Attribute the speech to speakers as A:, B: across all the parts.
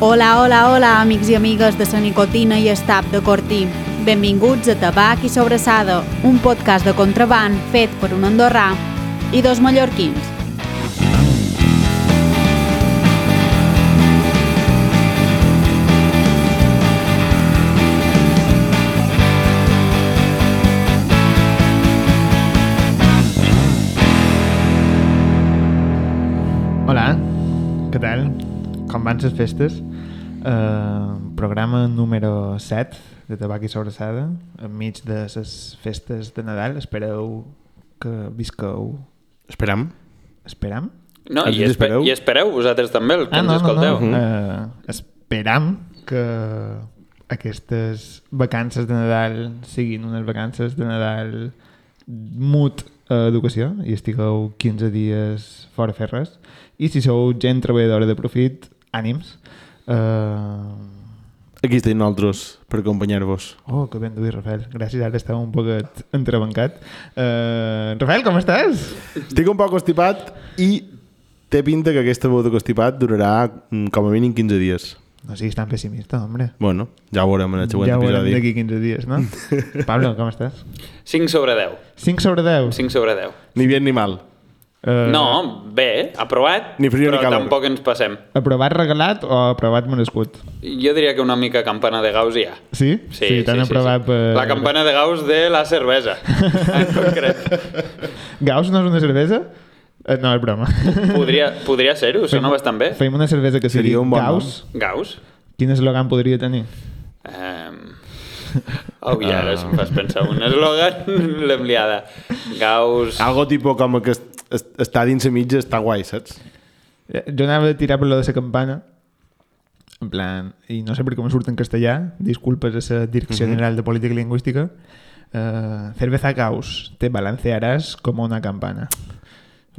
A: Hola, hola, hola, amics i amigues de la nicotina i estap de Cortí. Benvinguts a Tabac i Sobressada, un podcast de contraband fet per un andorrà i dos mallorquins.
B: Hola, què tal? Com van les festes? Uh, programa número 7 de Tabac i Sobrassada, enmig de les festes de Nadal. Espereu que visqueu...
C: Esperam.
B: Esperam?
D: No,
C: Els
D: i, espe
C: espereu?
D: i espereu vosaltres també,
C: Ah,
D: el que ens escolteu.
B: Ah,
C: Mhm.
B: no. Uh, esperam que aquestes vacances de Nadal siguin unes vacances de Nadal mut a educació i estigueu 15 dies fora a fer res. I si sou gent treballadora de profit, ànims. Uh,
C: Aquí estem nosaltres per acompanyar-vos.
B: Oh, que ben duit, Rafael. Gràcies, ara estava un poquet entrebancat. Uh, Rafael, com estàs?
C: Estic un poc constipat i té pinta que aquesta veu de constipat durarà mm, com a mínim 15 dies.
B: No siguis tan pessimista, hombre.
C: Bueno, ja ho veurem en el següent
B: Ja ho veurem
C: episodi.
B: d'aquí 15 dies, no? Pablo, com estàs?
D: 5 sobre 10.
B: 5 sobre 10.
D: 5 sobre 10.
C: Ni bien ni mal.
B: Uh,
D: No, bé, aprovat,
C: Eh. Ni frío ni
D: però
C: calor.
D: tampoc ens passem.
B: Aprovat regalat o aprovat merescut?
D: Jo diria que una mica campana de Gauss hi ha.
B: Sí? t'han aprovat per...
D: La campana de Gauss de la cervesa, en concret.
B: Gauss no és una cervesa? Eh, no, és broma.
D: Podria, podria ser-ho, sona bastant bé.
B: Fem una cervesa que sigui
C: Seria un bon
B: Gauss.
D: Gauss?
B: Quin eslògan podria tenir?
D: Um... Oh, i
C: Ah.
D: ara em fas pensar un eslògan, l'hem liada. Gauss...
C: Algo tipo com que est est està dins la mitja està guai, saps?
B: Eh, Jo anava a tirar per lo de la campana, en plan, i no sé per què me surt en castellà, disculpes a la Direcció General de Política Lingüística, eh, cerveza caos, te balancearás como una campana.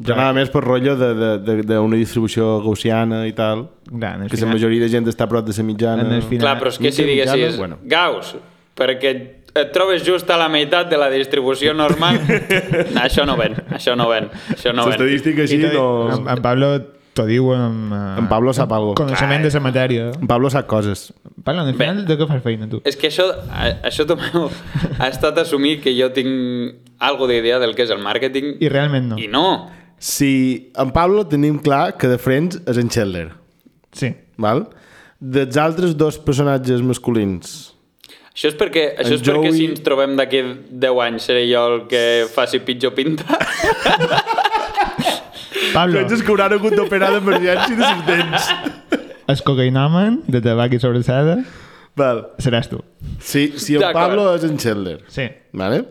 C: Jo anava més per rotllo d'una distribució gaussiana i tal,
B: Clar, en el
C: que la
B: final-
C: majoria de gent està a prop de la mitjana.
B: En el final-
D: Clar, però és que si
C: mitja mitjana,
D: diguessis
C: bueno.
D: Gauss, perquè et trobes just a la meitat de la distribució normal, això no ven, això no ven, això no ven.
C: L'estadística així
B: I te- en,
C: no...
B: en Pablo t'ho diu amb... eh,
C: En Pablo sap algo.
B: Coneixement de la matèria.
C: En Pablo sap coses.
B: Pablo, en el final de què fas feina, tu?
D: És que això, a- això Tomeu, ha estat assumir que jo tinc algo d'idea del que és el màrqueting
B: I realment no.
D: i no.
C: Si en Pablo tenim clar que de Friends és en Chandler,
B: Sí.
C: val? Dels altres dos personatges masculins,
D: Això és perquè, això
C: En
D: és perquè
C: Joey-
D: si ens trobem d'aquí 10 anys seré jo el que faci pitjor pinta.
B: Pablo,
C: Penses que hauran hagut d'operar d'emergència de les dents.
B: el cocainomen de tabac i sobrassada
C: Val.
B: seràs tu.
C: Si, si en
D: D'acord.
C: Pablo és en Chandler,
B: Sí.
C: vale?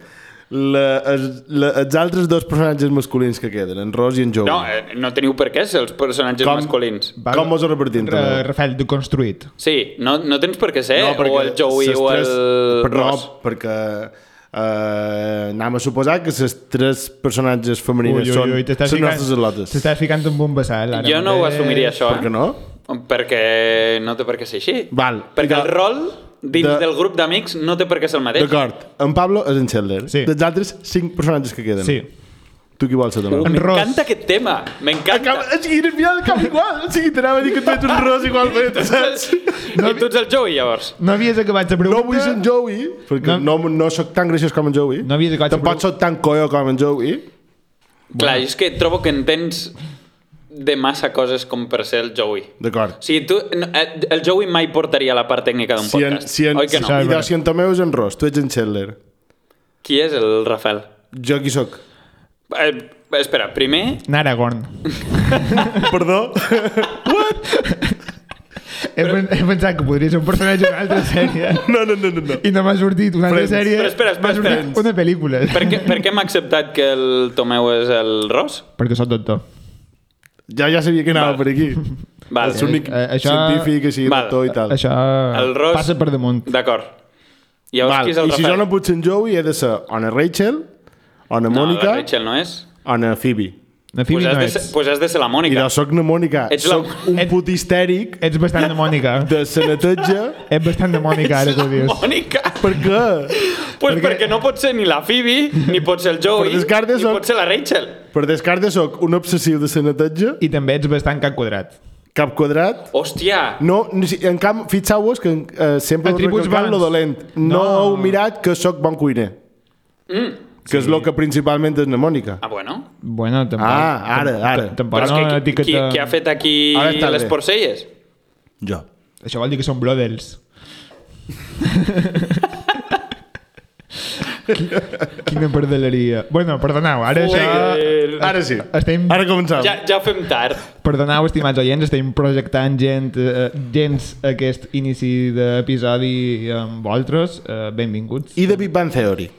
C: La, es, la, els altres dos personatges masculins que queden, en Ross i en Joey,
D: No, eh, no teniu per què ser els personatges
C: Com?
D: masculins.
C: com mos ho repartim?
B: Ra-
C: Tomeu?
B: Rafael, tu construït.
D: Sí, no, no tens per què ser Eh, o el Joey
C: ses
D: o el
C: tres- però no,
D: Ross.
C: perquè eh, anem a suposar que les tres personatges femenines són
B: t'estàs
C: les
B: ficant-
C: nostres al·lotes.
B: T'estàs ficant un bon vessal. ara
D: Jo no ho
B: mateix.
D: assumiria, això,
C: Per què
D: eh?
C: no?
D: Perquè no té per què ser així.
C: Val.
D: Perquè
C: De-
D: el rol dins
C: de-
D: del grup d'amics no té per què ser el mateix.
C: D'acord. En Pablo és en Chandler.
B: Sí.
C: Dels altres cinc personatges que queden.
B: Sí.
C: Tu qui vols ser, Tomeu?
D: Uh,
B: En Ross.
D: M'encanta aquest tema, m'encanta.
C: Acaba, o sigui, al final acaba igual. O sigui, t'anava a dir que tu ets un ros igual que tu, saps?
D: No, I tu ets el Joey, llavors.
B: No havies acabat la pregunta?
C: No vull ser en Joey, perquè no, no, no sóc tan graciós com en Joey.
B: No havies acabat de
C: Tampoc
B: provar-
C: sóc tan coio com en Joey.
D: Clar, és que trobo que entens de massa coses com per ser el Joey. O
C: D'acord.
D: sigui, tu, no, eh, el Joey mai portaria la part tècnica d'un
C: Si en,
D: podcast.
C: si en,
D: Oi que no?
B: saps-
C: idò, si en Tomeu és en Ros, tu ets en Chandler.
D: Qui és el Rafael?
C: Jo qui sóc?
D: Eh, espera, primer...
B: Naragorn.
C: Perdó?
B: He, pen- he pensat que podria ser un personatge d'una altra sèrie.
C: No, no, no, no. no.
B: I no m'ha sortit una altra
C: Friends.
B: sèrie.
D: Però espera, espera,
B: m'ha sortit
D: espera.
B: una pel·lícula.
D: Per què, per què m'ha acceptat que el Tomeu és el Ross?
B: Perquè sóc doctor.
C: Ja, ja sabia que anava per aquí.
D: Val.
C: És l'únic
B: Eh, això-
C: científic, així,
D: Val.
C: doctor i tal.
B: Això
D: El Ross-
B: Ah, passa per damunt.
D: D'acord. Llavors,
C: Val.
D: qui és el
C: I si
D: Rafael?
C: jo no puc ser en Joey, he de ser o en Rachel, o en
D: No,
C: Mònica,
D: la Ah, Rachel no és.
C: o en Phoebe.
B: La
D: Pues
B: Phoebe
D: has,
B: no
D: de
B: ets.
D: ser, pues has de ser la
C: I
D: Mònica.
C: no, sóc mnemònica.
D: Ets la-
C: Sóc un
B: Ets-
C: put histèric
B: Ets bastant demònica.
C: de senetotge.
B: Ets bastant demònica, ara que ho dius.
D: Mònica!
C: per què?
D: Pues perquè... perquè no pot ser ni la Phoebe, ni pot ser el Joey,
C: Per descarte
D: ni
C: sóc-
D: pot ser la Rachel.
C: Per descarte sóc un obsessiu de senetotge.
B: I també ets bastant cap quadrat.
C: cap quadrat,
D: Hòstia!
C: No, ni si- en camp, fixeu-vos que eh, sempre
B: Atributs
C: Atributs
B: bons.
C: recalcant lo dolent. No,
B: No.
C: no heu mirat que sóc bon cuiner. Mm. Que sí. és el que principalment és la Mònica.
D: Ah, bueno.
B: Bueno, tampoc...
C: Ah, ara, ara.
B: tam- Tampoc
D: Però és
B: no
D: que qui,
B: etiqueta...
D: qui, qui ha fet aquí
C: Ara és tarda.
D: les porcelles?
C: Jo.
B: Això vol dir que són brothers. Qui- Quina perdeleria. Bueno, perdoneu, ara
D: Ui.
B: això...
C: Ara sí.
B: Estem...
C: Ara començam.
D: Eh, Ja, ja ho fem tard.
B: Perdoneu, estimats oients, estem projectant gent, eh, gens aquest inici d'episodi amb vosaltres. Eh, benvinguts.
C: I de Big Bang Theory.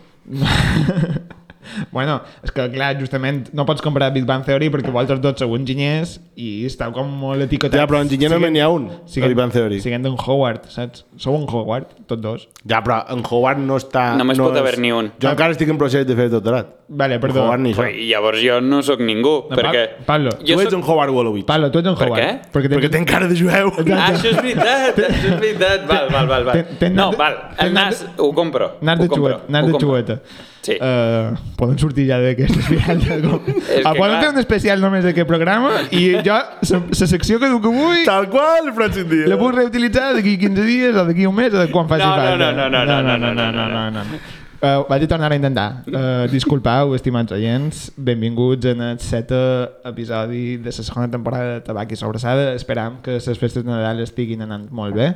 B: bueno, és que clar, justament no pots comparar Big Bang Theory perquè vosaltres tots sou enginyers i esteu com molt etiquetats.
C: Ja, però enginyer només n'hi ha un, a Big Bang Theory.
B: Siguent un Howard, saps? Sou un Howard, tots dos.
C: Ja, però en Howard no està...
D: Només
C: no
D: pot haver n'hi un.
C: Jo encara estic en procés de fer doctorat.
B: Vale, Eh, perdó.
C: Howard ni
D: Però,
C: això.
D: I llavors jo no sóc ningú,
B: No,
D: perquè...
B: Pa- Pablo,
C: Tu ets un Howard Wolowitz.
B: Pablo, tu ets un
D: Per
B: Howard.
D: què?
B: Perquè,
C: Perquè tenc cara de jueu.
D: Ah, això és veritat, això és veritat. Val, val, val. val.
B: Ten- ten
D: no,
B: nas de-
D: val,
B: ten
D: el nas ho compro.
B: Nas
D: ho
B: de
D: compro,
B: xueta. Nas
D: ho
B: de
D: compro.
B: xueta.
D: Sí.
B: Uh, poden sortir ja d'aquestes viatges. Com...
D: que
B: Ah, poden
D: clar.
B: fer un especial només d'aquest programa i jo, la secció que diu que vull,
C: Tal qual, però ets un dia.
B: la puc reutilitzar d'aquí 15 dies o d'aquí un mes o de quan faci
D: No, no,
B: falta.
D: no, no, no, no, no, no, no, no.
B: Uh, vaig a tornar a intentar. Uh, disculpeu, estimats oients, benvinguts en el setè episodi de la segona temporada de Tabac i Sobrassada. Esperam que les festes de Nadal estiguin anant molt bé.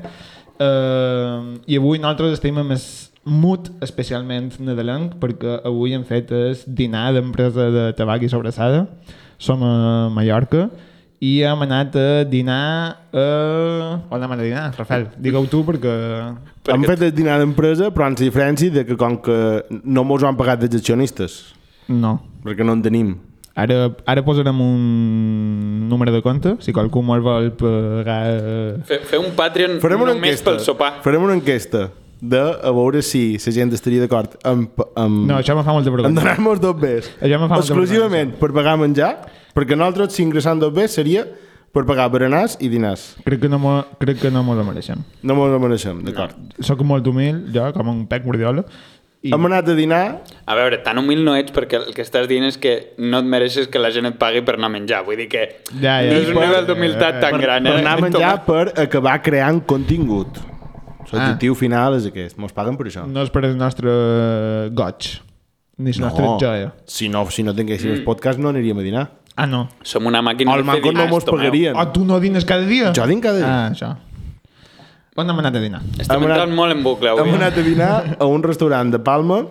B: Uh, I avui nosaltres estem amb el mut especialment nadalenc perquè avui hem fet el dinar d'empresa de Tabac i Sobrassada. Som a Mallorca i hem anat a dinar a... On hem anat a dinar, Rafael? Digue-ho tu perquè
C: Han fet el dinar d'empresa, però amb la diferència de que com que no mos ho han pagat els accionistes,
B: No.
C: perquè no en tenim.
B: Ara, ara posarem un número de compte, si qualcú molt vol pagar...
D: Fe, fer un Patreon
C: Farem una
D: només
C: enquesta.
D: pel sopar.
C: Farem una enquesta de a veure si la gent estaria d'acord amb, amb,
B: No, això me fa molta
C: amb
B: pregunta.
C: donar-nos dos bes.
B: Això me fa molta
C: Exclusivament per pagar menjar, perquè nosaltres si ingressant dos bes seria per pagar berenars i dinars.
B: Crec que no m'ho crec que no m'ho mereixem.
C: No mos ho mereixem, d'acord. No.
B: Soc molt humil, jo, com un Pep Guardiola. I...
C: Hem anat a dinar,
D: A veure, tan humil no ets perquè el que estàs dient és que no et mereixes que la gent et pagui per anar a menjar. Vull dir que
B: Ja, ja,
D: no és un
B: ja,
D: nivell
B: ja,
D: d'humilitat
B: ja.
D: tan gran.
C: per
D: eh?
C: anar a menjar per acabar creant contingut.
B: Ah.
C: L'objectiu final és aquest, mos paguen per això.
B: No és per el nostre goig, ni el nostre joia.
C: Si no, si no tinguéssim el podcast no aniríem a dinar.
B: Ah, no.
D: Som una màquina
C: O el
D: de fer
C: manco no
D: dinars,
C: mos
D: Tomeu.
C: pagarien.
B: Oh, tu no dines cada dia?
C: Jo dinc cada dia.
B: Ah, això. On hem anat a dinar?
D: Estem
C: Hem anat-
D: entrant molt en bucle avui.
C: Hem anat a dinar a un restaurant de Palma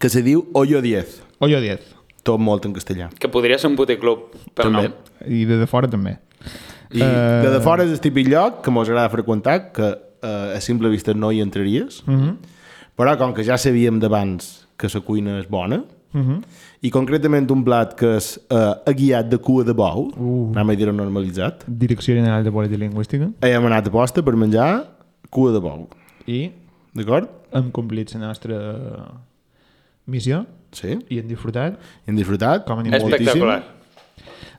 C: que se diu Hoyo 10.
B: Ollo 10.
C: Tot molt en castellà.
D: Que podria ser un puticlub, pel
C: També.
D: nom.
B: I de, de fora també. Eh.
C: I de, de fora és el típic lloc que mos agrada freqüentar, que eh, a simple vista no hi entraries, mm -hmm. però com que ja sabíem d'abans que la cuina és bona, mm
B: Mm-hmm.
C: -hmm. i concretament un plat que és eh, aguiat de cua de bou, uh. anem a dir-ho normalitzat,
B: Direcció General de Política Lingüística.
C: hem anat a posta per menjar cua de bou,
B: I
C: d'acord?
B: hem complit la nostra missió
C: Sí,
B: i hem disfrutat.
C: hem disfrutat
B: Com a ningú.
C: moltíssim.
D: Espectacular.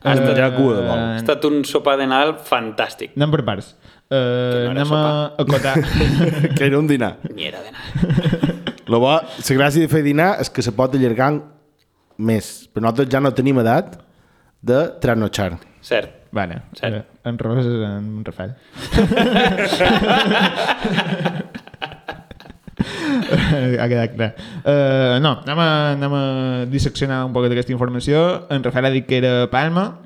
C: Has de menjar cua de bou.
D: Ha estat un sopar de Nadal fantàstic.
B: Eh, Anem per parts. Uh,
D: no era
B: anem a acotar.
C: que era un dinar.
D: Ni era de Nadal.
C: Lo bo, la gràcia de fer dinar és que se pot allargar més, però nosaltres ja no tenim edat de trasnotxar.
D: Cert.
B: vale.
D: Cert.
B: Eh, en Roses, en Rafael. ha quedat clar. Uh, no, anem a, anem a disseccionar un poc d'aquesta informació. En Rafael ha dit que era Palma.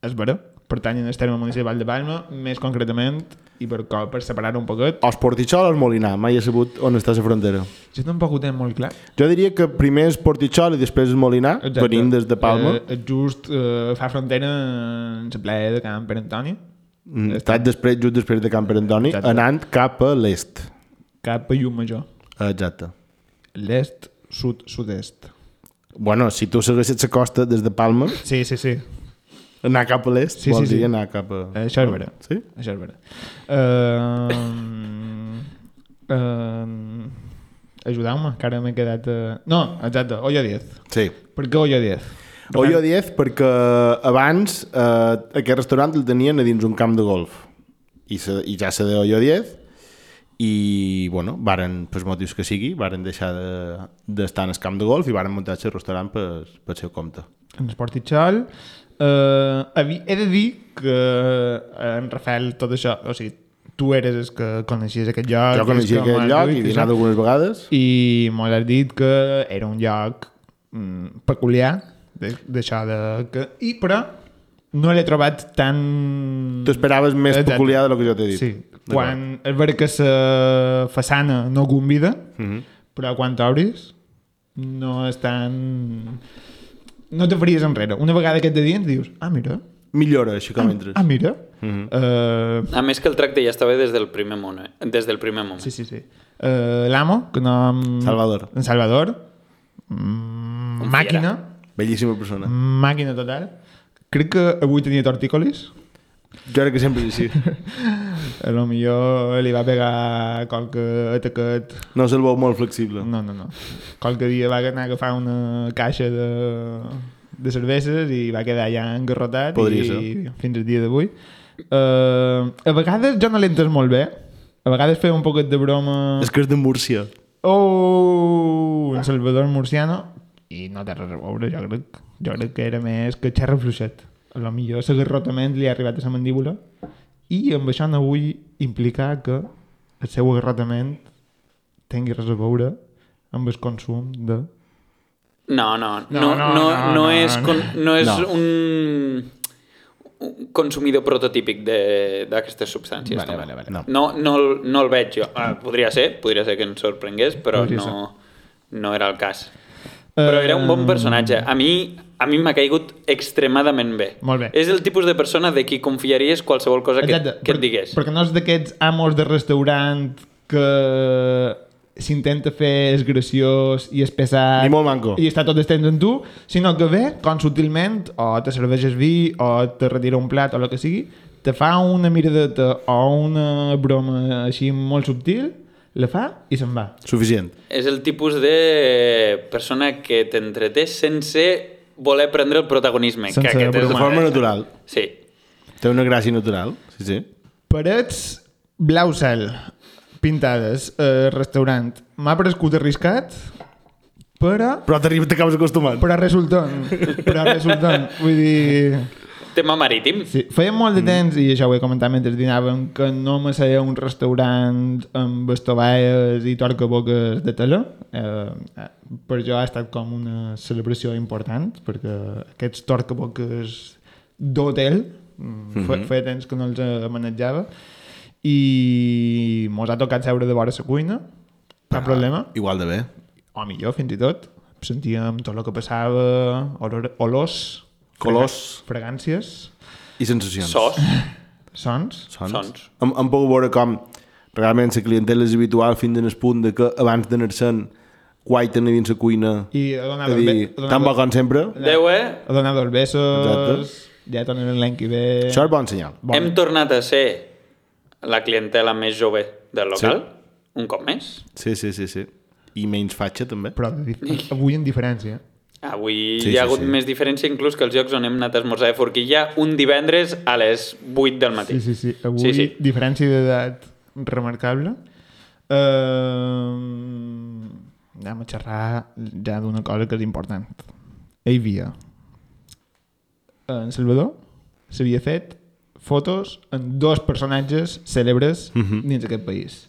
B: És vera. Pertany al terme municipal de Palma, més concretament, i per, co- per separar-ho un poquet,
C: O es Portitxol o es Molinar, mai he sabut on està la frontera.
B: Jo tampoc ho tenc molt clar.
C: Jo diria que primer és Portitxol i després és Molinar, Exacte. venint des de Palma.
B: Eh, just eh, fa frontera en la playa de Camp Per Antoni,
C: Eh, Estat després, just després de Camp Per Antoni,
B: Exacte.
C: anant cap a l'est.
B: cap a Llum Major.
C: Exacte.
B: L'est, sud, sud-est.
C: Bueno, si tu segueixes la costa des de Palma,
B: Sí, sí, sí.
C: anar cap a l'est
B: Sí,
C: sí, vol
B: sí, sí.
C: dir anar cap a...
B: Eh, això és vera.
C: Sí?
B: Això és vera. Eh, Uh, uh, Ajudeu-me, que ara m'he quedat... Uh... No, exacte, Olla 10.
C: Sí.
B: Per què Olla 10?
C: O jo 10 perquè abans eh, aquest restaurant el tenien a dins un camp de golf i, se, i ja se deia jo 10 i bueno, varen, pels motius que sigui, varen deixar de- d'estar de, en el camp de golf i varen muntar el restaurant pel, pel seu compte.
B: En Sportitxol, uh, Uh, he de dir que eh, en Rafael tot això, o sigui, tu eres el que coneixies aquest lloc.
C: Jo
B: és
C: coneixia
B: que
C: aquest
B: m'has
C: lloc,
B: dit
C: hi
B: que
C: havia anat
B: això,
C: algunes vegades.
B: i m'ho has dit que era un lloc mm, peculiar de- d'això de... Que, I però no l'he trobat tan...
C: T'esperaves més
B: Exacte.
C: peculiar del que jo t'he
B: Eh,
C: dit.
B: Sí,
C: D'acord.
B: quan és veritat que la façana no convida,
C: Mm.
B: però quan t'obris no és tan... No te faries enrere. Una vegada que et dedien dius, ah, mira,
C: Millora, així com entres.
B: ah, mira. Mm -hmm. uh,
D: A més que el tracte ja estava des del primer, món, eh? des del primer moment.
B: sí, sí, sí. Uh, L'amo, que no...
C: Salvador.
B: En Salvador. Mm,
D: Un
B: màquina.
C: Bellíssima persona.
B: Mm. Màquina total. Crec que avui tenia tortícolis.
C: Jo crec que sempre és així.
B: A lo millor li va pegar qualque ataquet
C: No se'l veu molt flexible.
B: No, no, no. Qualque dia va anar a agafar una caixa de, de cerveses i va quedar ja engarrotat
C: Podria
B: i
C: ser.
B: fins al dia d'avui. Uh, a vegades jo no l'entes molt bé. A vegades feia un poquet de broma...
C: És que és de Múrcia.
B: Oh, en Salvador Murciano. I no té res a veure, jo crec, jo crec que era més que xerra fluixet. A lo millor l'agarrotament li ha arribat a la mandíbula i amb això no vull implicar que el seu agarrotament tingui res a veure amb el consum de...
D: No, no,
B: No,
D: no, no,
B: no,
D: no,
B: no,
D: no,
B: no,
D: és,
B: no.
D: con, no és
C: No.
D: un, un consumidor prototípic de- d'aquestes substàncies.
B: Vale,
D: no.
B: vale, vale.
C: No.
D: No, no, el- no el veig jo. Ah, podria ser, podria ser que ens sorprengués, però
B: Podria
D: no, no era el cas. Però era un
B: Eh,
D: bon personatge. A mi a mi m'ha caigut extremadament bé.
B: Molt bé.
D: És el tipus de persona de qui confiaries qualsevol cosa que,
B: Exacte,
D: que
B: per-
D: et digués.
B: Perquè no és d'aquests amos de restaurant que s'intenta fer és graciós i és pesat
C: Ni molt manco.
B: i està tot el temps amb tu, sinó que ve com sutilment, o te serveix el vi o te retira un plat o el que sigui te fa una miradeta o una broma així molt subtil la fa i se'n va
C: Suficient.
D: És el tipus de persona que t'entreté sense voler prendre el protagonisme.
B: Sense
D: que aquest és
C: De
B: bromar.
D: el-
C: forma natural.
D: Sí.
C: Té una gràcia natural. Sí, sí.
B: Parets blau cel, pintades, eh, restaurant. M'ha prescut arriscat, però
C: Però t'arribes, t'acabes acostumant.
B: però resultant, però resultant, vull dir...
D: Tema marítim.
B: Sí, feia molt de temps, i això ho he comentat mentre dinàvem, que no me seia un restaurant amb estovalles i torcaboques de tela. Eh, per jo ha estat com una celebració important, perquè aquests torcaboques d'hotel mm -hmm. feia temps que no els eh, manejava. I mos ha tocat seure de vora la cuina, cap problema
C: Igual de bé.
B: o millor fins i tot sentíem tot el que passava olor, olors
C: Colors
B: fragàncies
C: i sensacions.
B: doncs.
D: Sos.
B: sons
C: Sons.
D: Sons.
C: Hem, hem pogut veure com realment la clientela és habitual fins en el punt de que abans d'anar-se'n guaiten a dins la cuina
B: i eh, a donar
C: a
B: dos
C: dir,
B: be- a donar
C: tan bo
B: dos-
C: com sempre.
D: Déu, eh?
B: a donar dos besos
C: Exacte.
B: ja tornen l'any que ve
C: Això és bon senyal.
B: Bon.
D: Hem tornat a ser la clientela més jove del local. Sí. Un cop més.
C: Sí, sí, sí, sí. I menys fatxa, també.
B: però de dif- avui en diferència
D: Avui
C: Sí,
D: sí, hi ha
C: sí,
D: hagut
C: sí.
D: sí. més diferència inclús que els llocs on hem anat a esmorzar de forquilla un divendres a les 8 del matí.
B: sí, sí, sí, avui sí, sí. diferència d'edat remarcable uh, anem a xerrar ja d'una cosa que és important hi havia en Salvador s'havia fet fotos en dos personatges cèlebres mm -hmm. dins d'aquest país.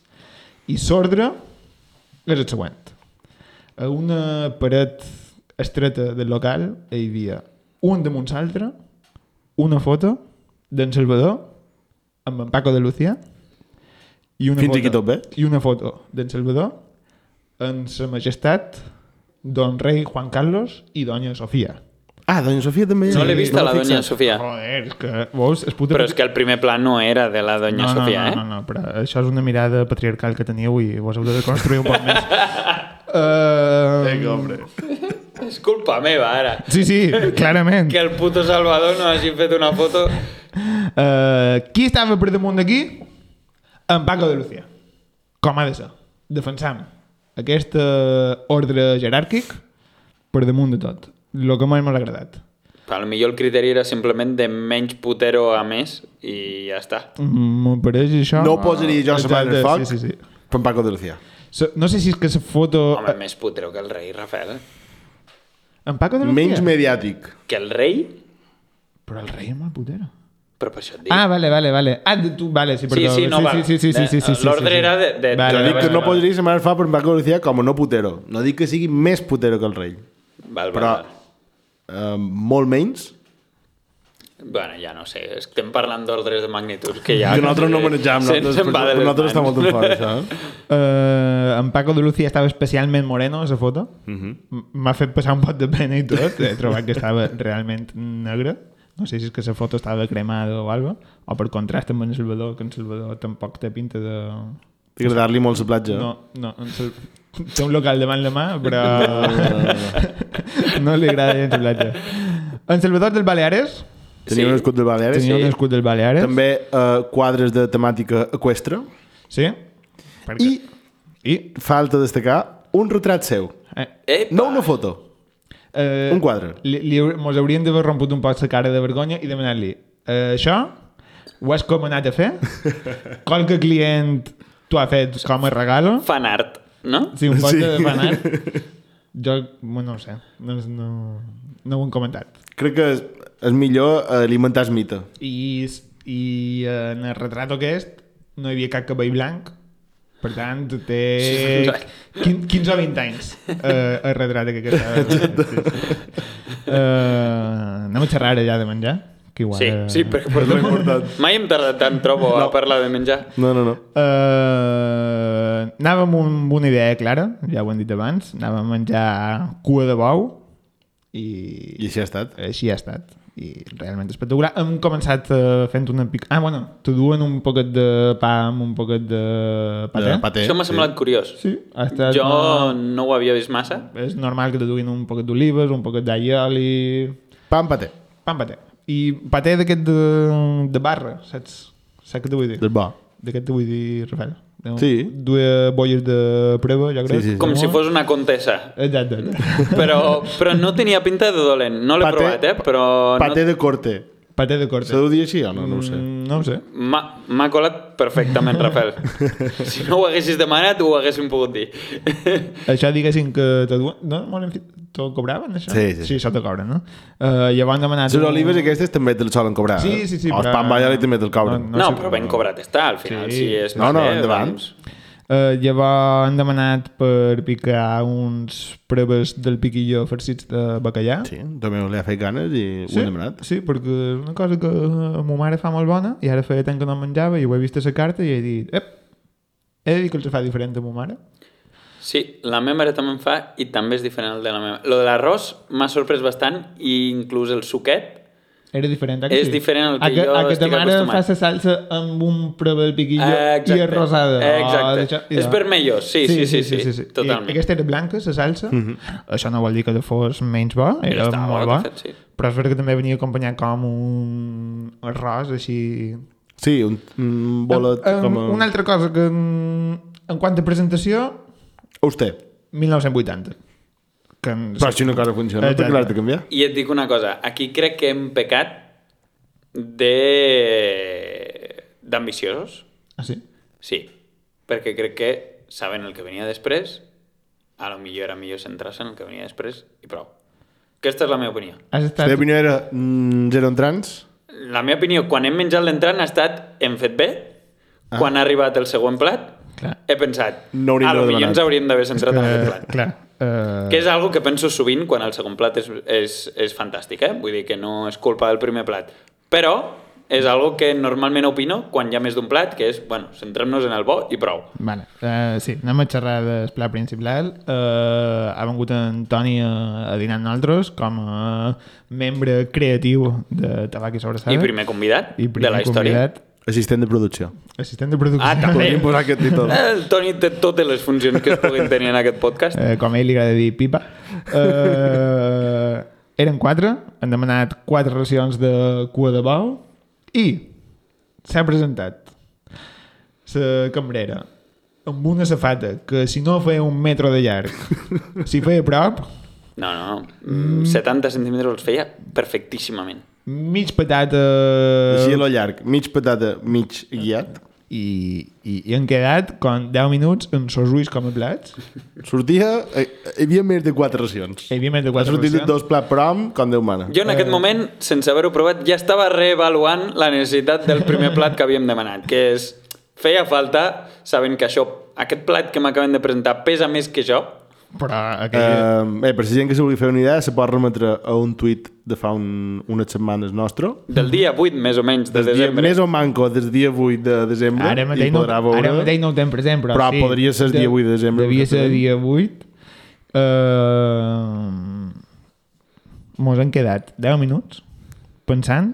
B: I s'ordre és el següent. A una paret estreta del local hi havia un damunt l'altre, una foto d'en Salvador amb en Paco de Lucía i una,
C: Fins
B: foto,
C: aquí tot bé.
B: i una foto d'en Salvador en sa majestat don rei Juan Carlos i doña Sofía.
C: Ah, doña Sofia també.
D: No l'he vist a la
C: m'he
D: doña
C: fixat.
D: Sofia,
B: Joder, és que, veus, es puta...
D: però és que el primer pla no era de la doña
B: no,
D: Sofia,
B: no,
D: eh?
B: no, no, no, però això és una mirada patriarcal que teniu i vos heu de construir un poc més. uh... Vinga, hombre.
D: És culpa meva, ara.
B: Sí, sí, clarament.
D: Que el puto Salvador no hagi fet una foto...
B: Uh, qui estava per damunt d'aquí? En Paco de Lucía. Com ha de ser. Defensam aquest eh, ordre jeràrquic per damunt de tot. El que més m'ha agradat.
D: A lo millor el criteri era simplement de menys putero a més i ja està.
B: M'ho pareix això...
C: No ho posaria jo a la mà en
B: Ah, Exacte,
C: el foc,
B: Sí, sí, sí.
C: però en Paco de Lucía.
B: So, no sé si és que la foto... eh,
D: Home, més putero que el rei, Rafael. eh?
B: En Paco de Lucía?
C: Menys mediàtic.
D: Que el rei?
B: Però el rei amb la putera.
D: Però per això et dic.
B: Ah, vale, vale, vale. Ah, de tu, vale, sí, perdó.
D: Sí, sí, no, vale. Eh,
B: sí, sí, sí, sí, sí, sí, sí,
D: L'ordre
B: sí, sí.
D: era de- de-
B: Vale,
C: Jo
B: vale,
D: de-
C: dic que
B: vale,
C: no
B: vale.
C: podria ser fa per Paco Lucía com a no putero. No dic que sigui més putero que el rei,
D: Val, val,
C: però
D: val.
C: eh, molt menys.
D: Bueno, ja no sé, estem parlant d'ordres de magnitud que ja...
C: que nosaltres no manejam,
D: Se'n-
C: nosaltres,
D: se'n va de les
C: nosaltres està
D: mans.
C: molt en fora, això. eh?
B: Eh, en Paco de Lucía estava especialment moreno a la foto. M- M'ha fet passar un pot de pena i tot. He trobat que estava realment negre. No sé si és que la foto estava cremada o alguna cosa, o per contrast amb en Salvador, que en Salvador tampoc té pinta de...
C: Agradar-li molt la platja.
B: No, no, en Sal... té un local davant la mà, però no li agrada gens la platja. En Salvador del Baleares,
C: Tenia
D: Sí.
C: un escut de Baleares.
B: tenia un escut del Baleares.
C: També eh, quadres de temàtica eqüestre.
B: Sí? Perquè...
C: I
B: I...
C: falta destacar un retrat seu.
B: Eh,
D: Eh,
C: No una foto.
B: eh,
C: Un quadre.
B: Li, li, haur- mos haurien d'haver romput un poc la cara de vergonya i demanar-li eh, això ho has comanat a fer? Qualque client t'ho ha fet com a regalo?
D: fan art, no?
B: Sí, un poc
C: Sí.
B: sí. de demanar. Jo, bueno, no ho sé. No, no, no ho hem comentat.
C: Crec que és, és millor alimentar el mite.
B: I, i eh, en el retrat aquest no hi havia cap cabell blanc, per tant, té quin- 15 o 20 anys eh, el retrat que estava. Sí, sí. Eh, anem a xerrar ara ja de menjar? Que igual,
D: Sí,
B: eh,
D: sí, perquè per
C: És important.
D: mai hem tardat tant trobo a parlar de menjar.
C: No, no, no.
B: Eh, anàvem amb una idea clara, ja ho hem dit abans, anàvem a menjar cua de bou i
C: I així ha estat.
B: així ha estat i realment espectacular. Hem començat eh, fent una pic... Ah, bueno, t'ho duen un poquet de pa amb un poquet de paté.
C: De Eh, paté.
D: Això m'ha semblat curiós.
B: Sí, ha estat...
D: Jo
B: una-
D: no ho havia vist massa.
B: És normal que te duguin un poquet d'olives, un poquet d'allioli...
C: Pa amb paté.
B: Pa amb paté. I paté d'aquest de, de barra, saps? Saps què t'ho vull dir?
C: Del bo.
B: D'aquest t'ho vull dir, Rafael.
C: Sí.
B: Dues bolles de prova, jo crec.
C: Sí, sí, sí.
D: Com si fos una contessa.
B: Exacte.
D: Però, però no tenia pinta de dolent. No l'he
C: Paté-
D: provat, eh? Però
C: Paté de corte.
B: paté de
C: Se
B: corte.
C: deu dir així o no? No ho sé.
B: Mm, No ho sé.
D: no- m'ha m'ha colat perfectament, Rafael. Si no ho haguessis demanat, ho haguéssim pogut dir.
B: Això diguéssim que te duen... No, molt enfi... T'ho cobraven, això?
C: Sí, sí, sí.
B: Sí, això te cobren, no? Uh, ja van demanar...
C: Les olives aquestes també te'l solen cobrar.
B: Sí,
C: eh?
B: sí, sí,
C: O el
B: però-
C: pa amb ballari també te'l cobren.
B: No,
D: No,
B: sí,
D: però ben cobrat està, al final.
B: Sí.
D: Sí. Si és
C: No, no,
D: paté,
C: endavant.
D: doncs-
B: Uh, llavors han demanat per picar uns preves del piquillo farcits de bacallà.
C: Sí, també li ha fet ganes i ho hem demanat.
B: Sí, perquè és una cosa que a ma mare fa molt bona i ara feia tant que no en menjava i ho he vist a la carta i he dit ep, he de dir que els fa diferent a ma mare.
D: Sí, la meva mare també en fa i també és diferent al de la meva. Lo de l'arròs m'ha sorprès bastant i inclús el suquet.
B: Era diferent, eh,
D: És
B: sí?
D: diferent al que
B: a que,
D: jo
B: a que ta
D: estic
B: mare
D: acostumat.
B: fa la salsa amb un preve del piquillo
D: Exacte.
B: i és rosada.
D: Exacte.
B: d'això- i
D: És
B: de-
D: vermellós, sí, sí, sí, sí, totalment. Mhm.
B: I aquesta era blanca, la salsa. Això no vol dir que fos menys bo, era
D: Estava
B: molt
D: bo,
B: bo.
D: de fet, sí.
B: Però és veritat que també venia acompanyat com un arròs, així...
C: Sí, un, un bolet
B: Em- em-
C: com a...
B: Una altra cosa que... mm, En quant a presentació,
C: Auster.
B: 1980. Que en-
C: Però si una cosa funciona,
B: Exacte.
C: per què l'has de canviar?
D: I et dic una cosa, aquí crec que hem pecat de... d'ambiciosos.
B: Ah, sí?
D: Sí, perquè crec que saben el que venia després, a lo millor era millor centrar-se en el que venia després i prou. Aquesta és la meva opinió.
B: Has
C: La
B: estat...
C: meva opinió era mm, zero entrants.
D: La meva opinió, quan hem menjat l'entrant, ha estat hem fet bé, ah. quan ha arribat el següent plat,
B: Clar.
D: he pensat,
C: No hauríem
D: a lo
C: d'haver
D: millor ens
C: demanat."
D: hauríem d'haver centrat en aquest plat.
B: Eh, clar. eh,
D: Que és algo que penso sovint quan el segon plat és, és, és fantàstic, eh? Vull dir que no és culpa del primer plat. Però és algo que normalment opino quan hi ha més d'un plat, que és, bueno, centrem-nos en el bo i prou.
B: Vale, uh, sí, anem a xerrar del pla principal. Uh, ha vengut en Toni a, a dinar amb nosaltres com a membre creatiu de Tabac i Sobrassada.
D: I primer convidat
B: I primer
D: de la història.
B: convidat,
C: Assistent de producció.
B: assistent de producció.
D: Ah, també.
C: Podríem posar aquest títol.
D: Eh, El Toni té totes les funcions que es puguin tenir en aquest podcast.
B: Eh, com a ell li agrada dir pipa. Eh, eren quatre, han demanat quatre racions de cua de bou i s'ha presentat la cambrera amb una safata que si no feia un metro de llarg, si feia a prop,
D: No, no, mm. 70 centímetres els feia perfectíssimament.
B: mig patata
C: Així a lo llarg, mig patata, mig guiat.
B: i, i, i han quedat com 10 minuts amb els ulls com a plats.
C: Sortia... eh, Hi havia més de quatre racions.
B: Hi havia més de
C: Ha
B: 4
C: sortit dos plats per hom, com Déu mana.
D: Jo en aquest moment, sense haver-ho provat, ja estava reevaluant la necessitat del primer plat que havíem demanat, que és feia falta, sabent que això, aquest plat que m'acaben de presentar pesa més que jo,
B: Però aquell...
C: Eh, bé, per si gent que se vulgui fer una idea, se pot remetre a un tuit de fa un, unes setmanes nostre,
D: del dia 8 més o menys de
C: des dia,
D: desembre.
C: més o manco des dia 8 de desembre,
B: ara, mateix
C: i
B: no,
C: podrà veure...
B: ara mateix no ho tenim present, però,
C: Però
B: sí.
C: podria ser el dia 8 de desembre,
B: Devia ser el
C: exactament.
B: dia 8. Uh, mos han quedat 10 minuts pensant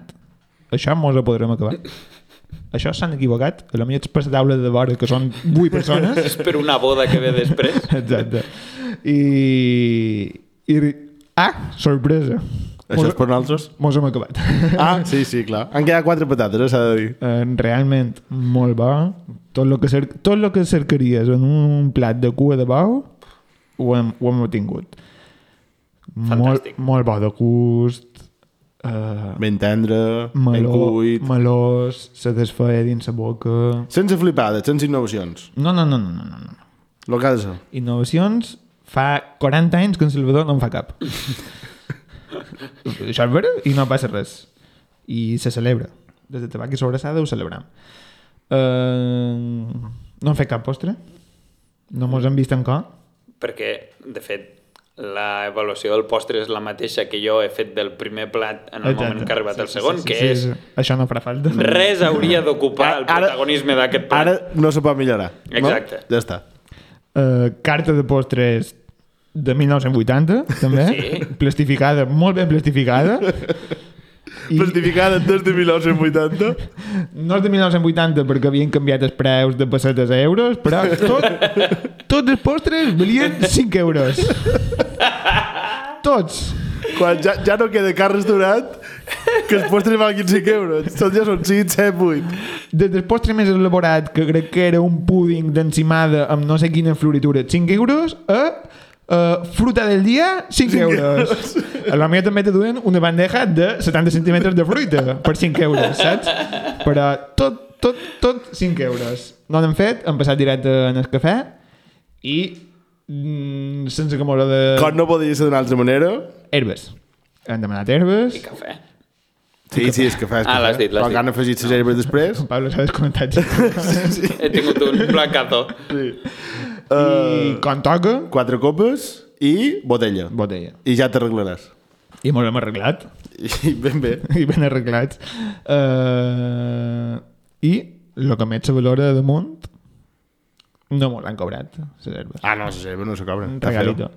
B: això mos ho podrem acabar. Això s'han equivocat. A la millor és per la taula de vora, que són 8 persones.
D: Per una boda que ve després.
B: Exacte. I... i... Ah, sorpresa.
C: Això és per nosaltres?
B: Mos hem acabat.
C: Ah, sí, sí, clar. Han quedat quatre patates, eh, s'ha de dir.
B: Eh, Realment molt bo. Tot el que, cer tot lo que cercaries en un plat de cua de bou ho hem, ho hem obtingut. Molt,
D: Fantàstic.
B: molt bo de gust. Eh,
C: Ben tendre, ben
B: meló,
C: cuit...
B: melós, se desfeia dins la boca...
C: Sense flipades, sense innovacions.
B: No, no, no, no, no, no. no.
C: Lo que ha de ser.
B: Innovacions fa 40 anys que en Salvador no en fa cap. Això és vera i no passa res. I se celebra. Des de tabac i sobrassada ho celebram. Uh, no han fet cap postre? No mos han vist encara?
D: perquè, de fet, l'avaluació del postre és la mateixa que jo he fet del primer plat en el moment que ha arribat el segon, que és
B: Això no farà falta.
D: res hauria d'ocupar el
C: Ara- ara-
D: protagonisme d'aquest plat.
C: Ara no se pot millorar.
D: Exacte.
C: No? Ja està.
B: Uh, carta de postres de 1980, també.
D: Sí.
B: Plastificada, molt ben plastificada.
C: I... Plastificada des de 1980.
B: No és de 1980 perquè havien canviat els preus de pessetes a euros, però tot, tots els postres valien 5 euros. Tots.
C: Quan ja, ja no queda cap restaurant que els postres valguin 5 euros. Tots ja són 6, 7, 8.
B: Des del postre més elaborat, que crec que era un púding d'encimada amb no sé quina floritura, 5 euros, a Uh, fruta del dia, 5, euros. A la meva també te duen una bandeja de 70 centímetres de fruita per 5 euros, saps? Però tot, tot, tot 5 euros. No n'hem fet, hem passat directe en el cafè i mm, sense que m'ho de...
C: Com no podia ser d'una altra manera...
B: Herbes. Hem demanat herbes.
D: I cafè.
C: Sí, sí, és que fas...
D: Ah, l'has dit, l'has
C: Però que
D: dit.
C: han afegit les herbes després.
B: Pablo, s'ha desconnectat.
D: He tingut un placazo.
B: I quan toca,
C: Eh, Quatre copes i botella.
B: botella.
C: I ja t'arreglaràs.
B: I molt hem arreglat.
C: I ben bé.
B: I ben arreglats. Uh, I el que més se valora damunt no me l'han cobrat, la herba.
C: Ah, no, les herbes no se cobren.
B: Un regalito.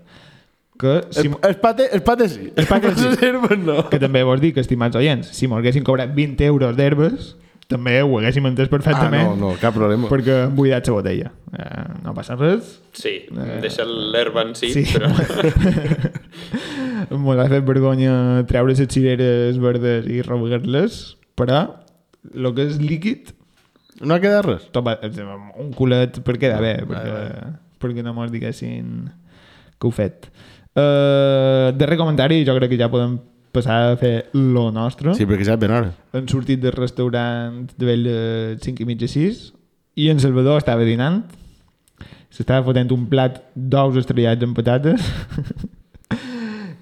B: Que, si,
C: El, el pate, el pate sí.
B: El pate sí.
C: Les herbes no.
B: que també vols dir que, estimats oients, si m'ho haguessin cobrat 20 euros d'herbes, també ho haguéssim entès
C: Ah,
B: perfectament.
C: no, no, cap problema.
B: Perquè hem buidat la botella. Uh, no passa res.
D: Sí, deixa l'herba en si,
B: Eh, sí.
D: sí. però...
B: M'ho ha fet vergonya treure les cireres verdes i rebegar-les, però el que és líquid
C: No ha quedat res.
B: Toma, un culet per quedar bé, perquè, perquè no mos diguessin que ho fet. Uh, darrer comentari, jo crec que ja podem passar a fer lo nostre.
C: Sí, perquè ja és ben hora.
B: Hem sortit del restaurant de vell 5 i mitja 6 i en Salvador estava dinant. S'estava fotent un plat d'ous estrellats amb patates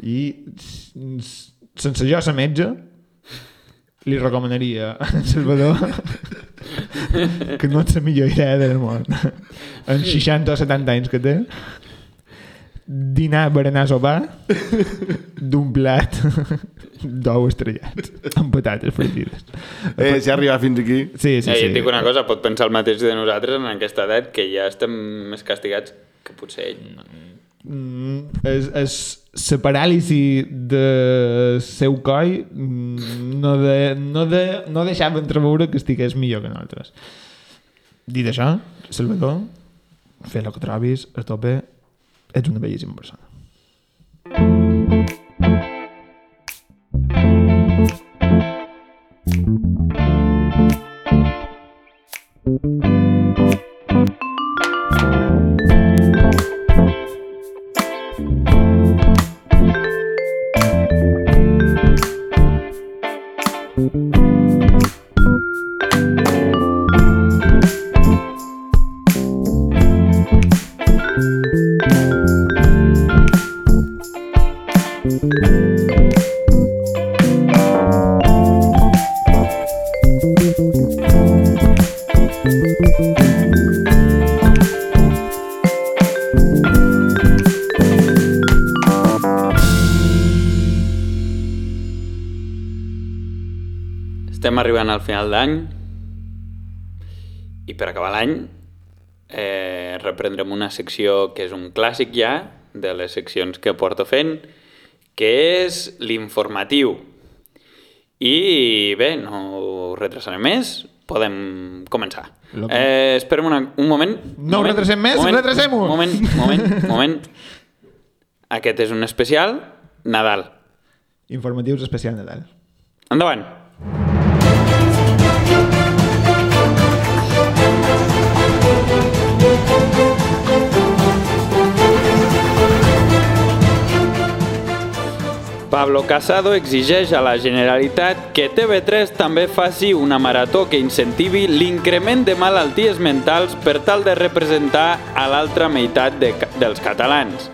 B: i s- s- sense jo ser metge li recomanaria a en Salvador que no és la millor idea del món en 60 o 70 anys que té dinar, berenar, sopar d'un plat d'ou estrellat amb patates fregides
C: Eh, si ha arribat fins aquí...
B: sí, sí,
D: Sí, sí.
B: sí.
D: Eh, Et dic una cosa, pot pensar el mateix de nosaltres en aquesta edat, que ja estem més castigats que potser ell.
B: Mm, és, és la paràlisi de seu coll mm, no, de, no, de, no deixava entreveure que estigués millor que nosaltres dit això Salvador fer el que trobis a tope ets una bellíssima persona
D: estem arribant al final d'any i per acabar l'any eh, reprendrem una secció que és un clàssic ja de les seccions que porto fent, que és l'informatiu. I bé, no ho retrasaré més, podem començar.
B: Lo-
D: Eh, espera'm una, un moment.
B: No ho
D: moment,
B: retrasem més,
D: moment,
B: retrasem-ho.
D: Moment, moment, moment. Aquest és un especial Nadal.
B: Informatius especial Nadal.
D: Endavant. Pablo Casado exigeix a la Generalitat que TV3 també faci una marató que incentivi l'increment de malalties mentals per tal de representar a l'altra meitat de, ca- dels catalans.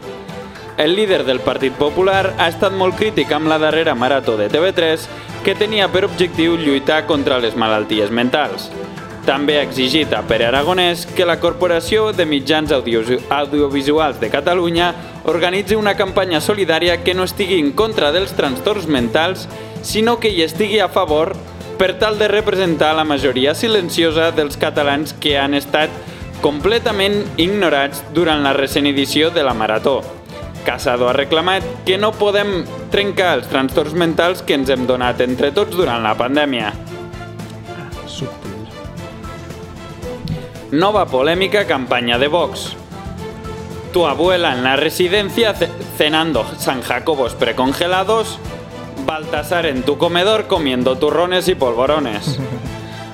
D: El líder del Partit Popular ha estat molt crític amb la darrera marató de TV3 que tenia per objectiu lluitar contra les malalties mentals. També ha exigit a Pere Aragonès que la Corporació de Mitjans Audios- Audiovisuals de Catalunya organitzi una campanya solidària que no estigui en contra dels trastorns mentals, sinó que hi estigui a favor per tal de representar la majoria silenciosa dels catalans que han estat completament ignorats durant la recent edició de la Marató. Casado ha reclamat que no podem trencar els trastorns mentals que ens hem donat entre tots durant la pandèmia.
B: Subtil.
D: Nova polémica campaña de Vox. Tu abuela en la residencia ce- cenando San Jacobos precongelados, Baltasar en tu comedor comiendo turrones y polvorones.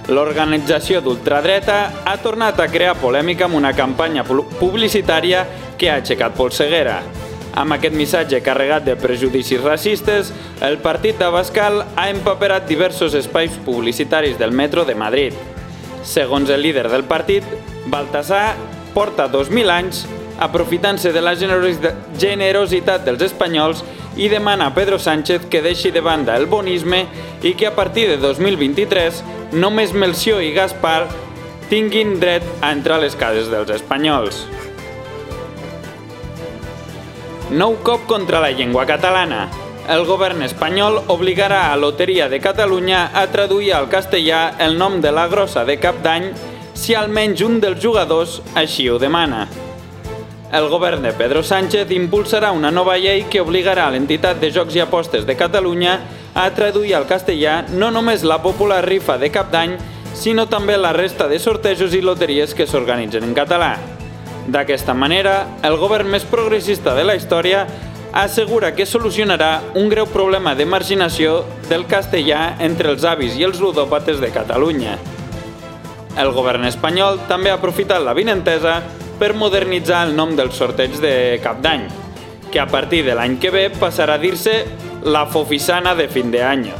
D: L'organització d'ultradreta ha tornat a crear polèmica amb una campanya pu- publicitària que ha aixecat polseguera. Amb aquest missatge carregat de prejudicis racistes, el partit d'Abascal ha empaperat diversos espais publicitaris del metro de Madrid. Segons el líder del partit, Baltasar porta 2.000 anys aprofitant-se de la generosi- generositat dels espanyols i demana a Pedro Sánchez que deixi de banda el bonisme i que a partir de 2023 només Melció i Gaspar tinguin dret a entrar a les cases dels espanyols. Nou cop contra la llengua catalana. El govern espanyol obligarà a Loteria de Catalunya a traduir al castellà el nom de la grossa de cap d'any si almenys un dels jugadors així ho demana. El govern de Pedro Sánchez impulsarà una nova llei que obligarà l'entitat de jocs i apostes de Catalunya a traduir al castellà no només la popular rifa de cap d'any, sinó també la resta de sortejos i loteries que s'organitzen en català. D'aquesta manera, el govern més progressista de la història assegura que solucionarà un greu problema de marginació del castellà entre els avis i els ludòpates de Catalunya. El govern espanyol també ha aprofitat la vinentesa per modernitzar el nom del sorteig de cap d'any, que a partir de l'any que ve passarà a dir-se la Fofisana de fin de año.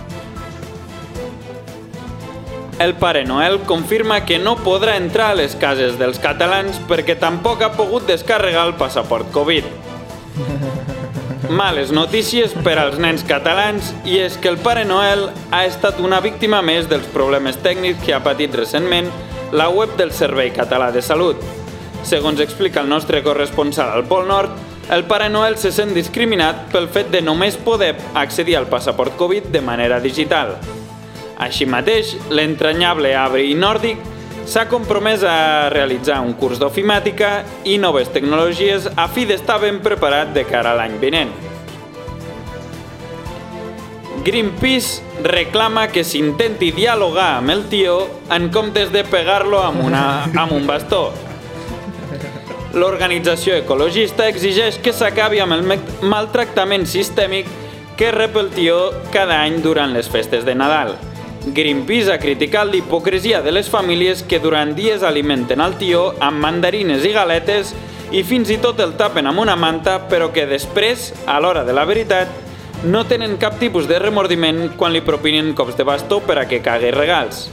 D: El Pare Noel confirma que no podrà entrar a les cases dels catalans perquè tampoc ha pogut descarregar el passaport Covid. Males notícies per als nens catalans i és que el Pare Noel ha estat una víctima més dels problemes tècnics que ha patit recentment la web del Servei Català de Salut. Segons explica el nostre corresponsal al Pol Nord, el Pare Noel se sent discriminat pel fet de només poder accedir al passaport Covid de manera digital. Així mateix, l'entranyable Abri Nòrdic s'ha compromès a realitzar un curs d'ofimàtica i noves tecnologies a fi d'estar ben preparat de cara a l'any vinent. Greenpeace reclama que s'intenti dialogar amb el tio en comptes de pegar-lo amb, una, amb un bastó. L'organització ecologista exigeix que s'acabi amb el me- maltractament sistèmic que rep el tió cada any durant les festes de Nadal. Greenpeace ha criticat l'hipocresia de les famílies que durant dies alimenten el tió amb mandarines i galetes i fins i tot el tapen amb una manta, però que després, a l'hora de la veritat, no tenen cap tipus de remordiment quan li propinen cops de bastó per a que cagui regals.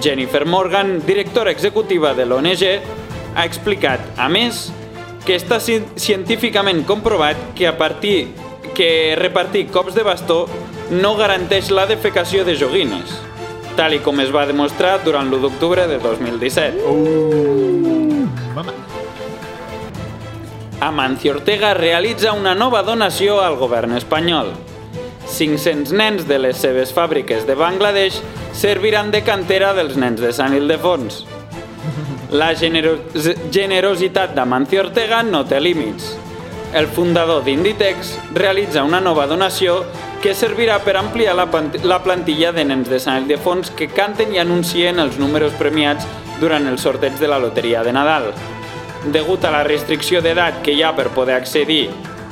D: Jennifer Morgan, directora executiva de l'ONG, ha explicat, a més, que està ci- científicament comprovat que a partir que repartir cops de bastó no garanteix la defecació de joguines, tal i com es va demostrar durant l'1 d'octubre de 2017.
B: Mama.
D: Amancio Ortega realitza una nova donació al govern espanyol. 500 nens de les seves fàbriques de Bangladesh serviran de cantera dels nens de Sant Ildefons. La genero generositat d'Amancio Ortega no té límits. El fundador d'Inditex realitza una nova donació que servirà per ampliar la, pant- la plantilla de nens de Sant Ildefons que canten i anuncien els números premiats durant el sorteig de la loteria de Nadal. Degut a la restricció d'edat que hi ha per poder accedir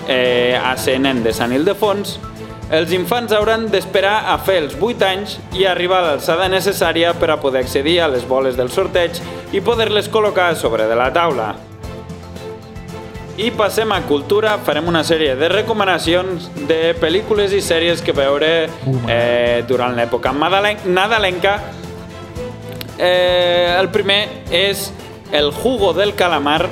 D: eh, a ser nen de Sant Ildefons, els infants hauran d'esperar a fer els 8 anys i arribar a l'alçada necessària per a poder accedir a les boles del sorteig i poder-les col·locar a sobre de la taula. I passem a cultura, farem una sèrie de recomanacions de pel·lícules i sèries que veure eh, durant l'època madalen- nadalenca. Eh, el primer és El jugo del calamar,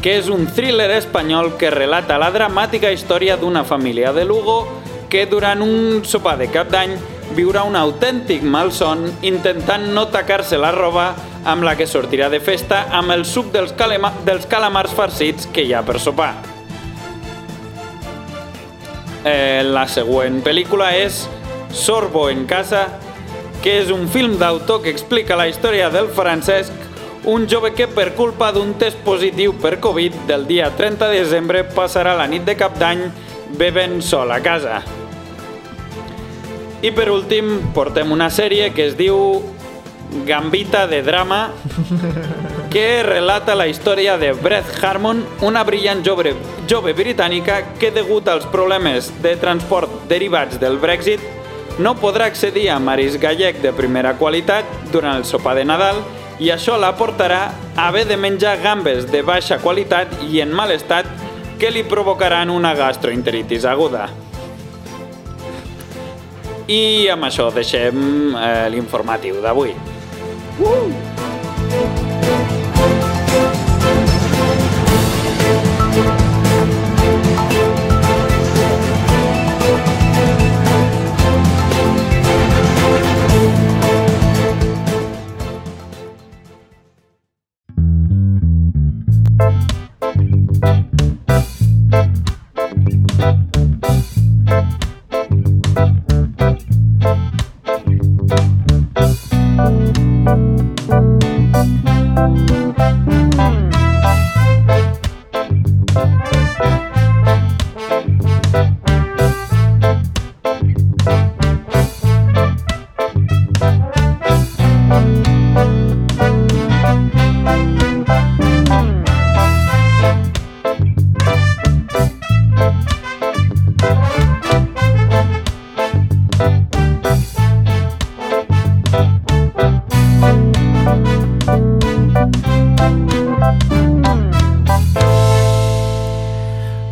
D: que és un thriller espanyol que relata la dramàtica història d'una família de Lugo que durant un sopar de cap d'any viurà un autèntic malson intentant no tacar-se la roba amb la que sortirà de festa amb el suc dels, calema dels calamars farcits que hi ha per sopar. Eh, la següent pel·lícula és Sorbo en casa, que és un film d'autor que explica la història del Francesc, un jove que per culpa d'un test positiu per Covid del dia 30 de desembre passarà la nit de cap d'any bevent sol a casa. I per últim, portem una sèrie que es diu Gambita de drama, que relata la història de Brett Harmon, una brillant jove, jove britànica que, degut als problemes de transport derivats del Brexit, no podrà accedir a maris gallec de primera qualitat durant el sopar de Nadal i això la portarà a haver de menjar gambes de baixa qualitat i en mal estat que li provocaran una gastroenteritis aguda. I amb això deixem eh, l'informatiu d'avui.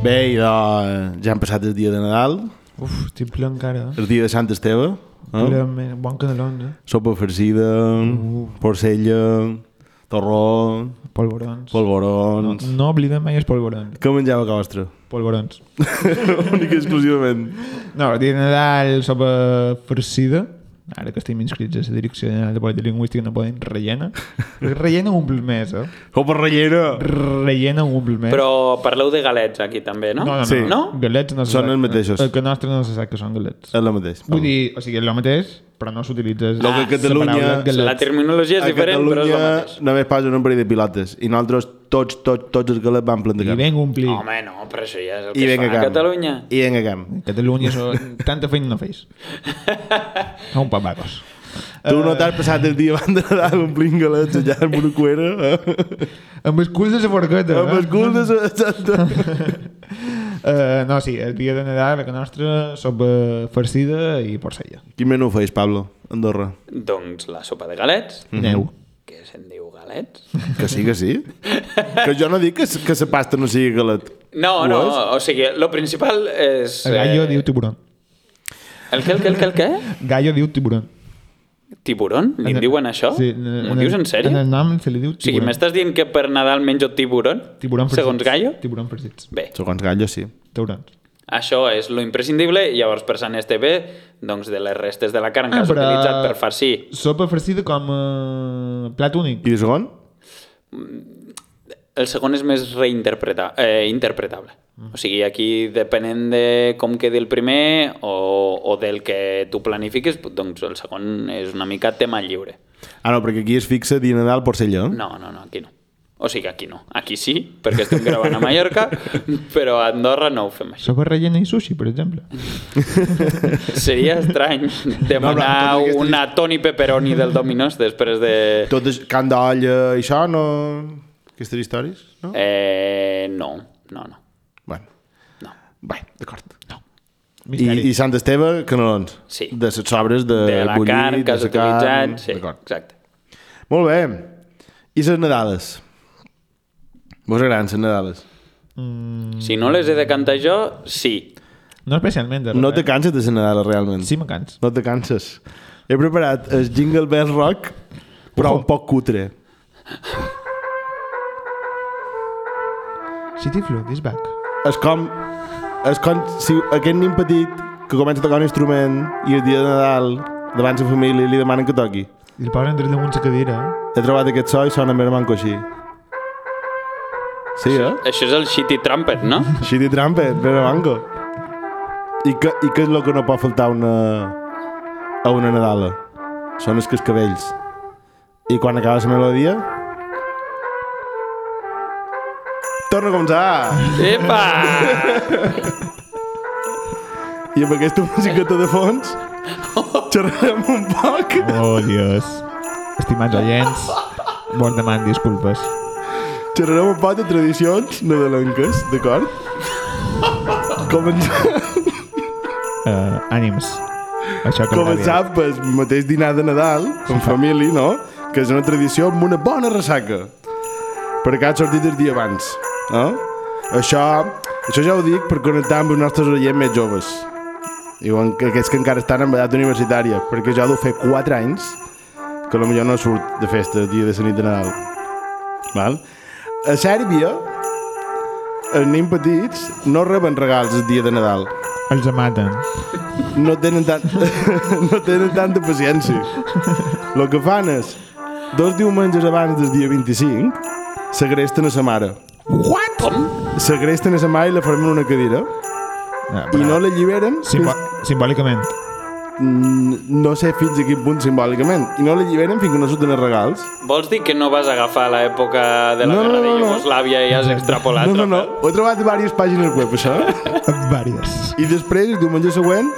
C: Bé, idò, ja han passat el dia de Nadal,
B: Uf, estic ple encara. Eh?
C: el dia de Sant Esteve,
D: Ah.
C: eh?
B: Ple, me- bon canelón, eh?
C: sopa farcida,
B: Uh.
C: porcella, torró,
B: Polvorons.
C: polvorons...
B: No oblidem mai els polvorons.
C: Què menjava que vostre?
B: Polvorons.
C: Únic i exclusivament.
B: No, el dia de Nadal sopa farcida. Ara que estem inscrits a la Direcció General de Política Lingüística no poden rellena. Rellena un omple més, eh?
C: Sopa rellera!
B: Rellena un omple més.
D: Però parleu de galets aquí també,
B: Eh?
D: no?
B: No, no, no.
C: Sí.
D: No?
B: Galets no se
C: Són
B: sap-
C: els mateixos.
B: El que nostre no se sap que són galets.
C: És el mateix.
B: Vull dir, o sigui, és el mateix, però no s'utilitza
C: Lo que a Catalunya-
D: La terminologia és
C: a
D: diferent,
C: Catalunya
D: però és el mateix.
C: només posen un parell de pilotes i nosaltres tots, tots, tots els galets van
B: I
C: plantejar.
B: venga omplir.
D: Home, no, però això ja és
C: I
D: el que es
C: venga
D: fa a
C: camp.
D: Catalunya.
C: I venga camp.
B: Catalunya són... tanta feina no feis. Són papacos.
C: Tu no t'has passat el dia abans de Nadal omplint galets allà amb una cuera? Eh?
B: Amb el cul de la forqueta.
C: Amb el cul de la santa.
B: Uh, no, sí, el dia de Nadal, la nostra, sopa farcida i porcella.
C: Quin menú feis, Pablo? Andorra.
D: Doncs la sopa de galets,
C: Mhm.
B: Mm -hmm. Neu.
D: que se'n diu galets.
C: Que sí, que sí. Que jo no dic que, s- que la pasta no sigui galet.
D: No, no, o sigui, lo principal és... eh,
B: El gallo diu tiburón.
D: El què, el què, el què, el què?
B: Gallo diu tiburón.
D: Tiburón? Li
B: En
D: en
B: el-
D: diuen això?
B: Sí,
D: M'ho dius en sèrio?
B: En el nom se li diu
D: O sigui,
B: tiburón.
D: m'estàs dient que per Nadal menjo tiburón?
B: Tiburón farcits.
D: Segons Gallo?
B: Tiburón farcits.
D: Bé,
C: Segons gallo, sí.
B: Tiburons.
D: això és lo imprescindible i llavors per Sant Esteve, doncs de les restes de la carn que
B: Ah,
D: has
B: però-
D: utilitzat per farcir
B: Sopa farcida com a plat únic.
C: I el segon?
D: El segon és més reinterpretable. Eh, interpretable.
C: Mm.
D: O sigui, aquí, depenent de com quedi el primer o, o del que tu planifiques, doncs el segon és una mica tema lliure.
C: Ah, no, perquè aquí es fixa dinar dalt porcelló.
D: No, no, no, aquí no. O sigui, aquí no. Aquí sí, perquè estem gravant a Mallorca, però a Andorra no ho fem així.
B: Sopa rellena i sushi, per exemple.
D: Seria estrany
C: No,
D: demanar
C: però amb totes aquestes-
D: una Toni Pepperoni del Dominos després de...
C: Tot és cant d'olla i això, no... Aquestes històries, no?
D: Eh, no, no, no.
C: Bueno,
D: no.
C: bé, d'acord. I,
B: Misteri.
C: I Sant Esteve, canelons.
D: Sí.
C: De les sobres de,
D: De la
C: bullit,
D: carn que has
C: de la carn,
D: utilitzat, sí,
C: D'acord.
D: exacte.
C: Molt bé. I les Nadales? Vos agraden les Nadales?
D: Si no les he de cantar jo, sí.
B: Mm, No especialment. De
C: No
B: res,
C: te
B: eh?
C: canses de les Nadales, realment.
B: Sí, me canso.
C: No te canses. He preparat el Jingle Bell Rock, però
B: Ojo.
C: un poc cutre.
B: City Flood is back.
C: És com... És com si aquest nen petit que comença a tocar un instrument i el dia de Nadal davant sa família li demanen que toqui.
B: I el posen dret damunt la cadira. eh?
C: He trobat aquest so i sona més manco així. Sí, eh?
D: Això és el Shitty Trumpet, no?
C: Així de trampet, més manco. I què, I què és el que no pot faltar a una, a una Nadala? Són els cascabells. I quan acaba la melodia... Torna a començar!
D: Epa!
C: I amb aquesta musiqueta de fons xerrarem un poc.
B: Oh, Dios. Estimats oients, vos deman disculpes.
C: Xerrarem un poc de tradicions nadalenques, d'acord? Començar,
B: Uh, ànims. Això que
C: començar pel mateix dinar de Nadal, en família, no? Que és una tradició amb una bona ressaca. Perquè ha sortit el dia abans, no? Això, això ja ho dic per connectar amb els nostres oients més joves. Diuen que aquests que encara estan en edat universitària, perquè jo deu fer 4 anys que potser no surt de festa el dia de la nit de Nadal. Val? A Sèrbia, els nens petits no reben regals el dia de Nadal.
B: Els amaten.
C: No tenen, tant, no tenen tanta paciència. El que fan és, dos diumenges abans del dia 25, segresten a sa mare.
D: What? Com?
C: Segresten a sa mare i la formen una cadira
B: Ah,
C: i
B: bravo.
C: no la lliberen fins,
B: Simbo simbòlicament.
C: no sé fins a quin punt simbòlicament i no la lliberen fins que no surten els regals
D: Vols dir que no vas agafar l'època de la
C: No, no,
D: guerra de
C: no, no.
D: Iugoslàvia i has extrapolat?
C: no, no, no,
D: Rafael?
C: ho he trobat a diverses pàgines web això
B: Vàries.
C: I després, el diumenge següent,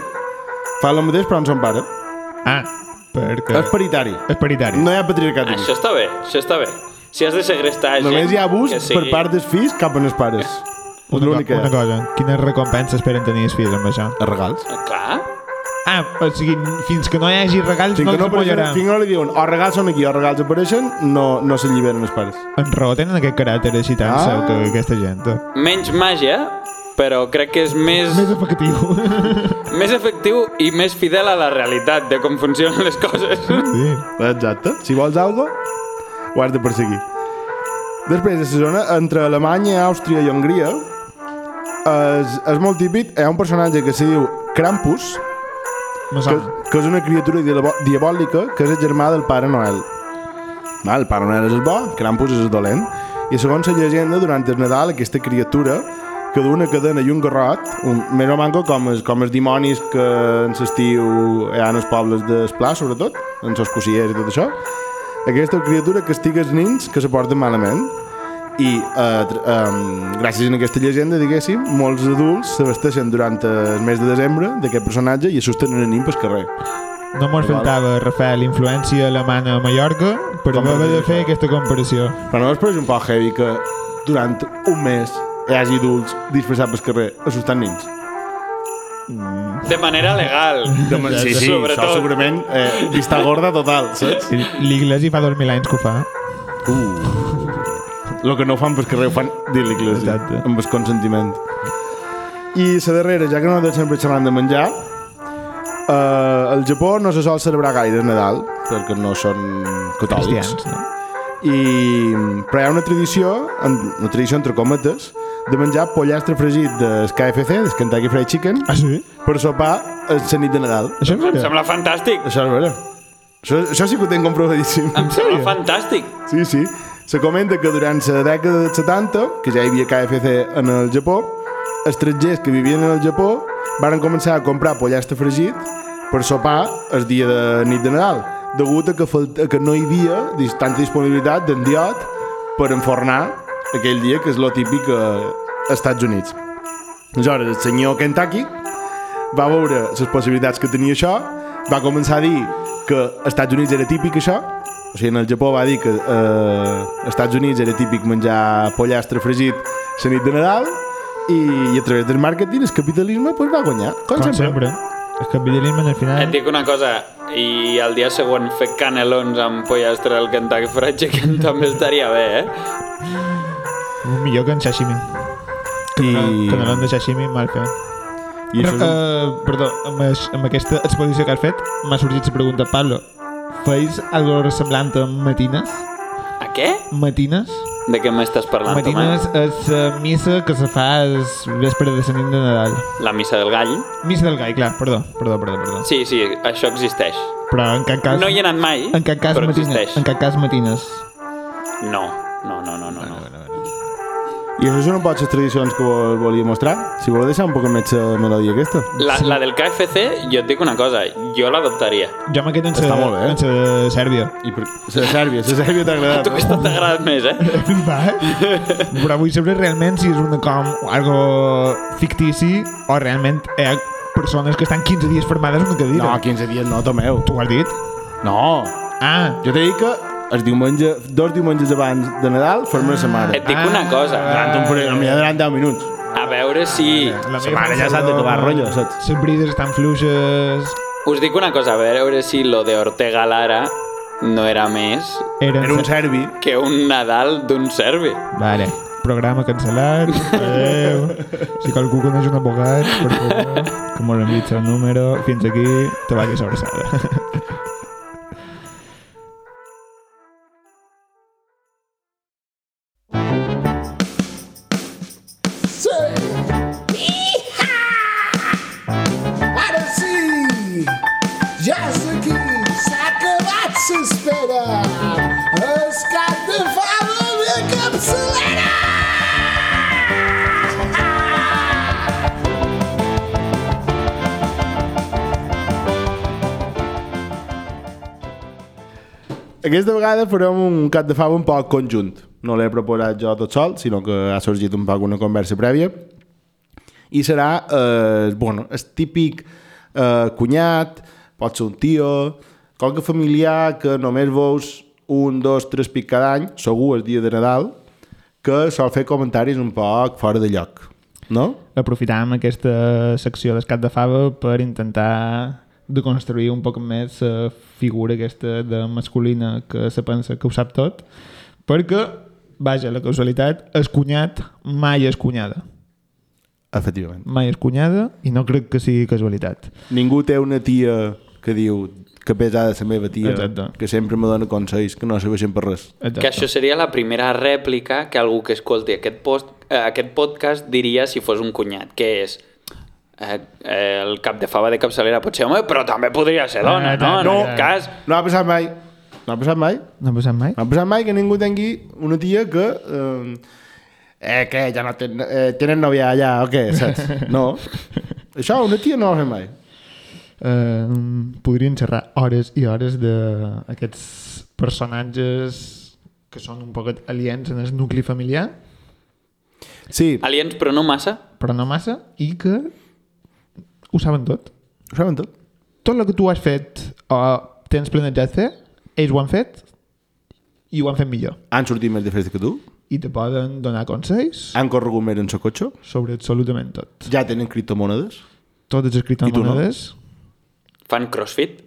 C: fa el mateix però amb son pare.
B: Ah, perquè...
C: És paritari.
B: És paritari.
C: No hi ha patriarcat.
D: Això està bé, això està bé. Si has de segrestar gent...
C: Només hi ha abús
D: que
C: per part dels fills cap als pares. És
B: Una,
C: l'únic
B: co
C: que
B: una
C: hi ha.
B: cosa, quines recompenses esperen tenir els fills amb això?
C: Els regals.
D: Clar,
B: Ah, o sigui, fins que no hi hagi regals
C: Fins
B: no
C: que
B: els
C: no, apareixen,
B: apoyaran.
C: fins que no li diuen o regals són aquí o regals apareixen, no, no s'alliberen els pares.
B: En raó tenen aquest caràcter així tan
C: Ah.
B: seu que aquesta gent. eh?
D: menys màgia, però crec que és més,
B: Més efectiu.
D: més efectiu i més fidel a la realitat de com funcionen les coses.
B: sí.
C: Exacte. Si vols algo, ho has de perseguir. Després, a la zona, entre Alemanya, Àustria i Hongria, és, és molt típic, hi ha un personatge que se diu Krampus,
B: Me
C: que,
B: sona.
C: que és una criatura diabo- diabòlica que és el germà del Pare Noel. Val, el Pare Noel és el bo, Krampus és el dolent. I segons la llegenda, durant el Nadal, aquesta criatura que du una cadena i un garrot, un, més o manco com els, com els dimonis que en l'estiu hi ha en els pobles d'Esplà, sobretot, en els cosiers i tot això, aquesta criatura castiga els nins que se porten malament i eh, tr- em, gràcies a aquesta llegenda, diguéssim, molts adults s'abasteixen durant eh, el mes de desembre d'aquest personatge i assusten un nen pel carrer.
B: No mos faltava, Rafael, influència alemana a Mallorca per
C: Com
B: haver de
C: això?
B: fer aquesta comparació.
C: Però no després un poc heavy que durant un mes hi hagi adults disfressats pel carrer assustant nens.
D: De manera legal.
C: això
D: sobretot.
C: segurament eh, vista gorda total, saps?
B: L'Iglesi fa 2.000 anys que ho fa.
C: El que no ho fan pel carrer ho fan dir l'Iglésia,
B: Exacte.
C: amb el consentiment. I la darrera, ja que no de sempre xerrant de menjar, eh, al Japó no se sol celebrar gaire el Nadal, perquè no són catòlics.
B: Cristians, no?
C: I, però hi ha una tradició, en- una tradició entre cometes, de menjar pollastre fregit del KFC, del Kentucky Fried Chicken,
B: Ah, sí?
C: per sopar a la nit de Nadal.
B: Això em
D: Em
B: sembla.
D: sembla fantàstic.
C: Això és vera. Això, això sí que ho tenc comprovadíssim.
D: Em sembla fantàstic.
C: Sí, sí. Se comenta que durant la dècada dels 70, que ja hi havia KFC en el Japó, estrangers que vivien en el Japó varen començar a comprar pollastre fregit per sopar el dia de nit de Nadal, degut a que, falt- a que no hi havia dis- tanta disponibilitat d'endiot per enfornar aquell dia, que és lo típic a Estats Units. Aleshores, Doncs el senyor Kentucky va veure les possibilitats que tenia això, va començar a dir que als Estats Units era típic això, o sigui, en el Japó va dir que eh, als Estats Units era típic menjar pollastre fregit la nit de Nadal, i, i a través del màrqueting el capitalisme pues, va guanyar, com,
B: Com sempre. El capitalisme al
D: Et
B: final...
D: dic una cosa, i el dia següent fer canelons amb pollastre al Kentucky Fried Chicken també estaria bé, eh?
B: Millor que en Ah, sashimi.
C: I,
B: Canelón de sashimi mal fet.
C: i
B: Però,
C: això és...
B: eh, perdó, amb, aix- amb aquesta exposició que has fet m'ha sorgit la pregunta, Pablo, feis alguna cosa semblant a matines?
D: A què?
B: Matines?
D: De què m'estàs parlant, Tomàs?
B: matines és la missa que se fa el vespre de la nit de Nadal.
D: La missa del gall?
B: Missa del Gai, clar, perdó, perdó, perdó, perdó.
D: Sí, sí, això existeix.
B: Però en cap cas...
D: No hi he anat mai,
B: en cap cas
D: però
B: matines.
D: existeix.
B: En cap cas matines.
D: No, no, no, no, no. no.
C: I això són un poc les tradicions que vol, volia mostrar. Si voleu deixar un poc més la melodia aquesta.
D: La, la del KFC, jo et dic una cosa, jo l'adoptaria.
B: Jo me quedo en
C: Està molt
B: sa-
C: bé.
B: en sa de Sèrbia.
C: I per... La Sèrbia, la Sèrbia t'ha agradat,
D: Tu
C: no?
D: aquesta t'ha agradat més, eh?
B: Va, eh? Però vull saber realment si és una com algo fictici o realment hi ha persones que estan 15 dies formades en una cadira.
C: No, 15 dies no, Tomeu.
B: Tu ho has dit?
C: No,
B: Ah,
C: Jo t'he dit que el diumenge, dos diumenges abans de Nadal, farem una setmana. Ah,
D: Et dic una cosa.
B: Ah,
C: Durant un parell, potser durant 10 minuts.
D: A veure si...
B: la
C: Sa mare ja sap de què va el rotllo, saps?
B: Les brides estan fluixes...
D: Us dic una cosa, a veure si lo de Ortega Lara no era més
B: Eren
C: Era un serbi.
D: que un Nadal d'un serbi.
B: Vale. Programa cancel·lat. Adéu. Si qualcú coneix un abogat, per favor, que molt envitja el número. Fins aquí, te vagis abraçada.
E: Espera, es cap de fava de capçalera!
C: Aquesta vegada farem un cap de fava un poc conjunt. No l'he proposat jo tot sol, sinó que ha sorgit un poc una conversa prèvia. I serà, eh, bueno, el típic eh, cunyat, pot ser un tio, qualque familiar que només veus un, dos, tres pic cada any, segur el dia de Nadal, que sol fer comentaris un poc fora de lloc, no?
B: aprofitam aquesta secció d'escat de fava per intentar de construir un poc més la figura aquesta de masculina que se pensa que ho sap tot, perquè, vaja, la casualitat, es cunyat mai és cunyada.
C: Efectivament.
B: Mai és cunyada i no crec que sigui casualitat.
C: Ningú té una tia que diu que pesada la meva tia,
B: Exacte.
C: que sempre me dona consells, que no serveixen per res.
B: Exacte.
D: Que això seria la primera rèplica que algú que escolti aquest, post, eh, aquest podcast diria si fos un cunyat, que és eh, eh, el cap de fava de capçalera pot ser home, però també podria ser dona,
B: Ah,
D: no?
B: tant,
D: En
B: no.
D: aquest cas,
C: No ha passat mai. No ha passat mai.
B: No ha passat mai?
C: No ha passat mai que ningú tingui una tia que... Eh, eh què, ja no ten, eh, tenen novia allà o què, saps? No. Això una tia no ho ha fet mai.
B: eh, podrien xerrar hores i hores d'aquests personatges que són un poquet aliens en el nucli familiar,
C: Sí,
D: aliens però no massa,
B: però no massa, i que ho saben tot.
C: ho saben tot.
B: Tot el que tu has fet o tens planejat fer, ells ho han fet i ho han fet millor.
C: Han sortit més de festa que tu,
B: I te poden donar consells
C: han corregut més en socotxo,
B: sobre absolutament tot.
C: ja tenen criptomonedes.
B: Tot és escrit
C: I
B: en
C: tu no?
B: monedes.
D: fan crossfit,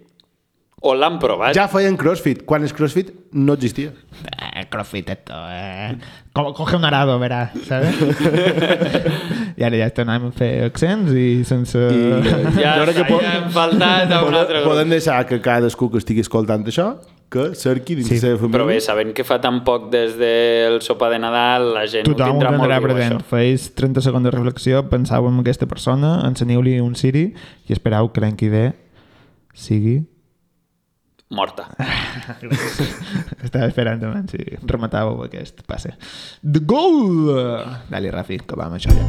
D: o l'han provat.
C: Ja feien crossfit, quan el crossfit no existia.
B: Eh, crossfit esto, eh. Co- Coge un arado, verá, ¿sabes? I ara ja estan anant a fer accents i sense... I...
D: ja,
C: Jo crec que
D: ja
C: pot-
D: hem faltat a Ah, un
C: Poden,
D: altre grup.
C: poden deixar que cadascú que estigui escoltant això que cerqui dins sí, la seva família.
D: Però bé, sabent que fa tan poc des del sopar de Nadal, la gent ho
B: Tothom ho
D: tindrà molt
B: tindrà
D: viu,
B: present.
D: això.
B: Feis 30 segons de reflexió, pensau en aquesta persona, enseniu-li un Siri i esperau que l'any que ve sigui...
D: Morta.
B: Estava esperant també si rematàveu aquest passe. The goal! Dale, Rafi, que va amb això ja.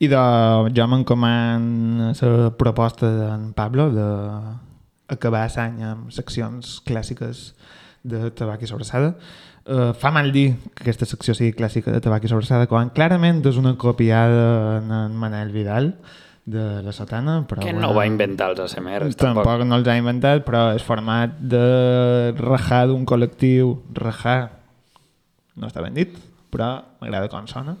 B: I de, jo m'encomano la proposta d'en Pablo de acabar l'any amb seccions clàssiques de tabac i sobrassada. Uh, fa mal dir que aquesta secció sigui clàssica de tabac i sobrassada quan clarament és una copiada en en Manel Vidal de la sotana, però...
D: Que
B: bueno,
D: no va inventar els ASMRs,
B: tampoc.
D: tampoc.
B: tampoc no els ha inventat, però és format de rajar d'un col·lectiu, rajar, no està ben dit, però m'agrada com sona.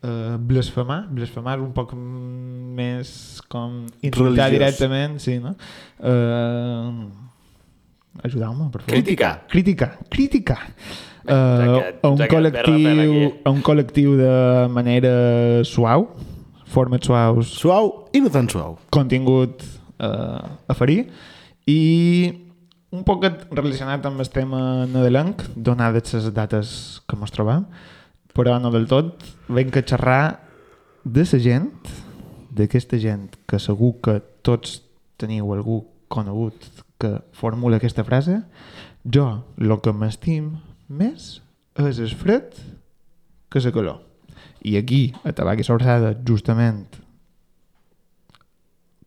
B: Uh, blasfemar, blasfemar és un poc mm, més com insultar
C: Religiós.
B: directament, sí, no? Uh, Ajudeu-me, per favor.
C: Criticar.
B: Criticar, criticar. Uh,
D: aquest-
B: a, un
D: aquest verra per
B: col·lectiu,
D: aquí.
B: a un col·lectiu de manera suau, formes suaus
C: Suau i no tan suau.
B: contingut eh, a ferir i un poc relacionat amb el tema nadalenc, donades les dates que mos trobam, però no del tot, venc a xerrar de la gent, d'aquesta gent que segur que tots teniu algú conegut que formula aquesta frase, jo el que m'estim més és el fred que la calor. I aquí, a Tabac i Sobrada, justament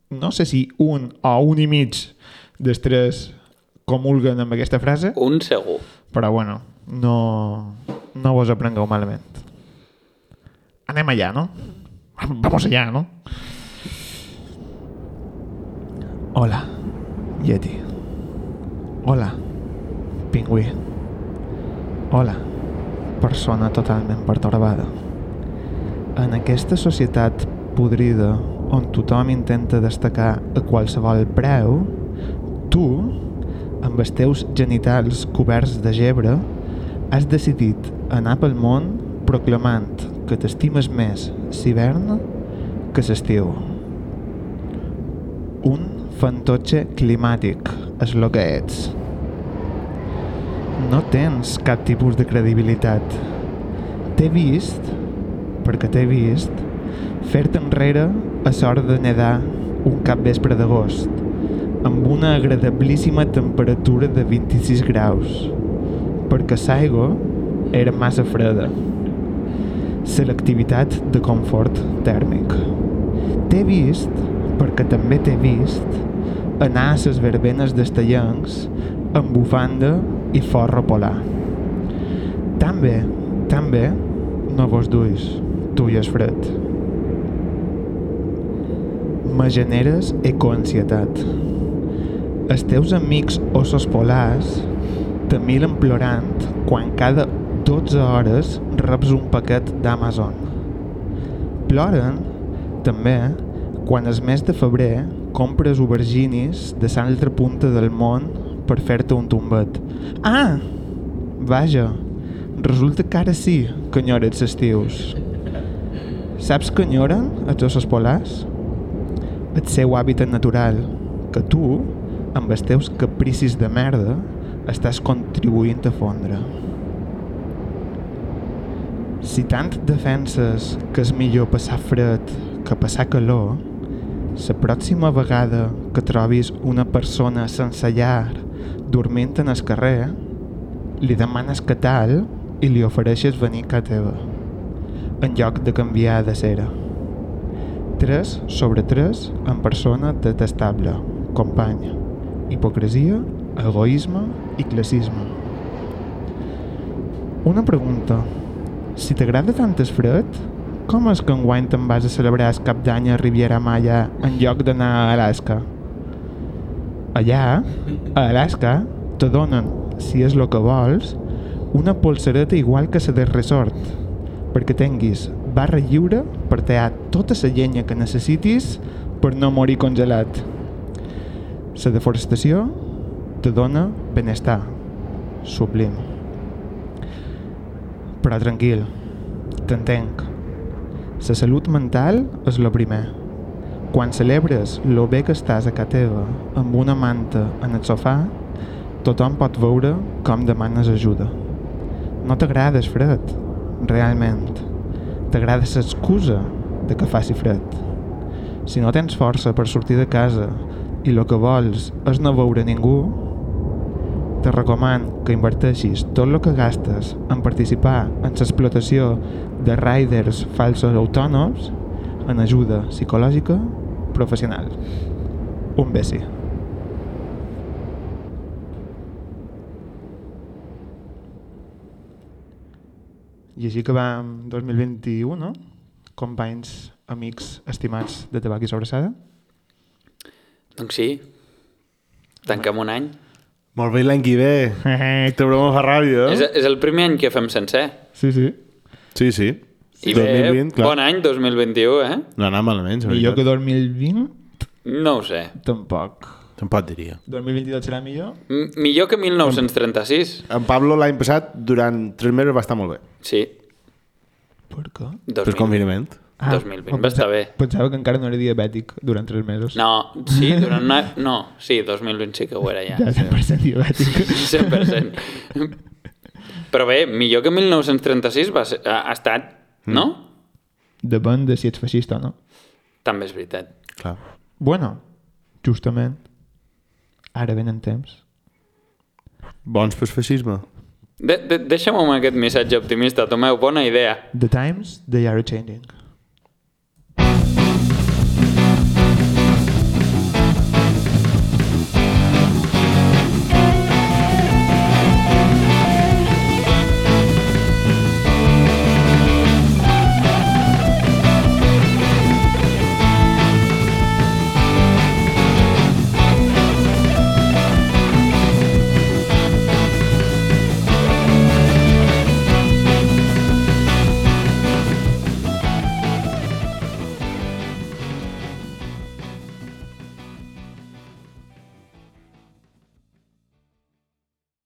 B: no sé si un o un i mig dels tres comulguen amb aquesta frase,
D: Un segur.
B: però bueno, no, no vos aprengueu malament. Anem allà, no? Vamos allà, no? Hola, Yeti. Hola, pingüí. Hola, persona totalment pertorbada. En aquesta societat podrida on tothom intenta destacar a qualsevol preu, tu, amb els teus genitals coberts de gebre, has decidit anar pel món proclamant que t'estimes més l'hivern que l'estiu. Un fantotxe climàtic és el que ets. No tens cap tipus de credibilitat. T'he vist perquè t'he vist, fer-te enrere a sort de nedar un cap vespre d'agost, amb una agradablíssima temperatura de 26 graus, perquè l'aigua era massa freda. Selectivitat de confort tèrmic. T'he vist, perquè també t'he vist, anar a les verbenes d'estellancs amb bufanda i forro polar. També, també, no vos duis, tu i és fred. Me generes e ecoansietat. Els teus amics ossos polars te miren plorant quan cada 12 hores reps un paquet d'Amazon. Ploren, també, quan el mes de febrer compres auberginis de l'altra punta del món per fer-te un tombet. Ah! Vaja, resulta que ara sí que enyores estius. Saps que enyoren els ossos polars? El seu hàbitat natural, que tu, amb els teus capricis de merda, estàs contribuint a fondre. Si tant defenses que és millor passar fred que passar calor, la pròxima vegada que trobis una persona sense llar dormint en el carrer, li demanes que tal i li ofereixes venir a casa teva, en lloc de canviar de cera. 3 sobre 3 en persona detestable, company. Hipocresia, egoisme i classisme. Una pregunta. Si t'agrada tant el fred, com és que enguany te'n vas a celebrar el cap d'any a Riviera Maya en lloc d'anar a Alaska? Allà, a Alaska, te donen, si és el que vols, una polsereta igual que la de resort, perquè tinguis barra lliure per tallar tota la llenya que necessitis per no morir congelat. La deforestació te dona benestar. Sublim. Però tranquil, t'entenc. La salut mental és lo primer. Quan celebres lo bé que estàs a casa teva amb una manta en el sofà, tothom pot veure com demanes ajuda. No t'agrada el fred, realment. T'agrada l'excusa de que faci fred. Si no tens força per sortir de casa i lo que vols és no veure ningú, te recomano que inverteixis tot el que gastes en participar en l'explotació de riders falsos autònoms en ajuda psicològica professional. Un besi. I així que va 2021, no? Companys, amics, estimats de Tabac i Sobrassada.
D: Doncs sí, tanquem un any.
C: Molt bé, l'any que ve.
B: Sí,
C: Te veurem a Ferrari, eh?
D: És, és el primer any que fem sencer.
B: sí.
C: Sí, sí.
D: I bé,
C: 2020, clar.
D: bon any 2021, eh?
C: No ha anat malament, la
B: Millor que
C: veritat.
B: 2020?
D: No ho sé.
B: Tampoc.
C: Tampoc diria.
B: 2022 serà millor?
D: M millor que 1936.
C: En Pablo l'any passat, durant tres mesos, va estar molt bé.
D: Sí,
B: Per què?
D: 2000.
C: Per confinament.
D: 2020 va estar bé.
B: Ah, Pensava que encara no era diabètic durant 3 mesos.
D: No, sí, durant una... No, sí, 2020 sí que ho era ja.
B: Ja 100% diabètic.
D: 100%. Però bé, millor que 1936 va ser, ha, ha estat,
C: Mm.
D: no?
B: Depèn de si ets feixista o no.
D: També és veritat.
C: Clar.
B: Bueno, justament, ara venen temps.
C: Bons pel feixisme.
D: De, de, Deixa'm amb aquest missatge optimista, Tomeu, bona idea.
B: The times, they are changing.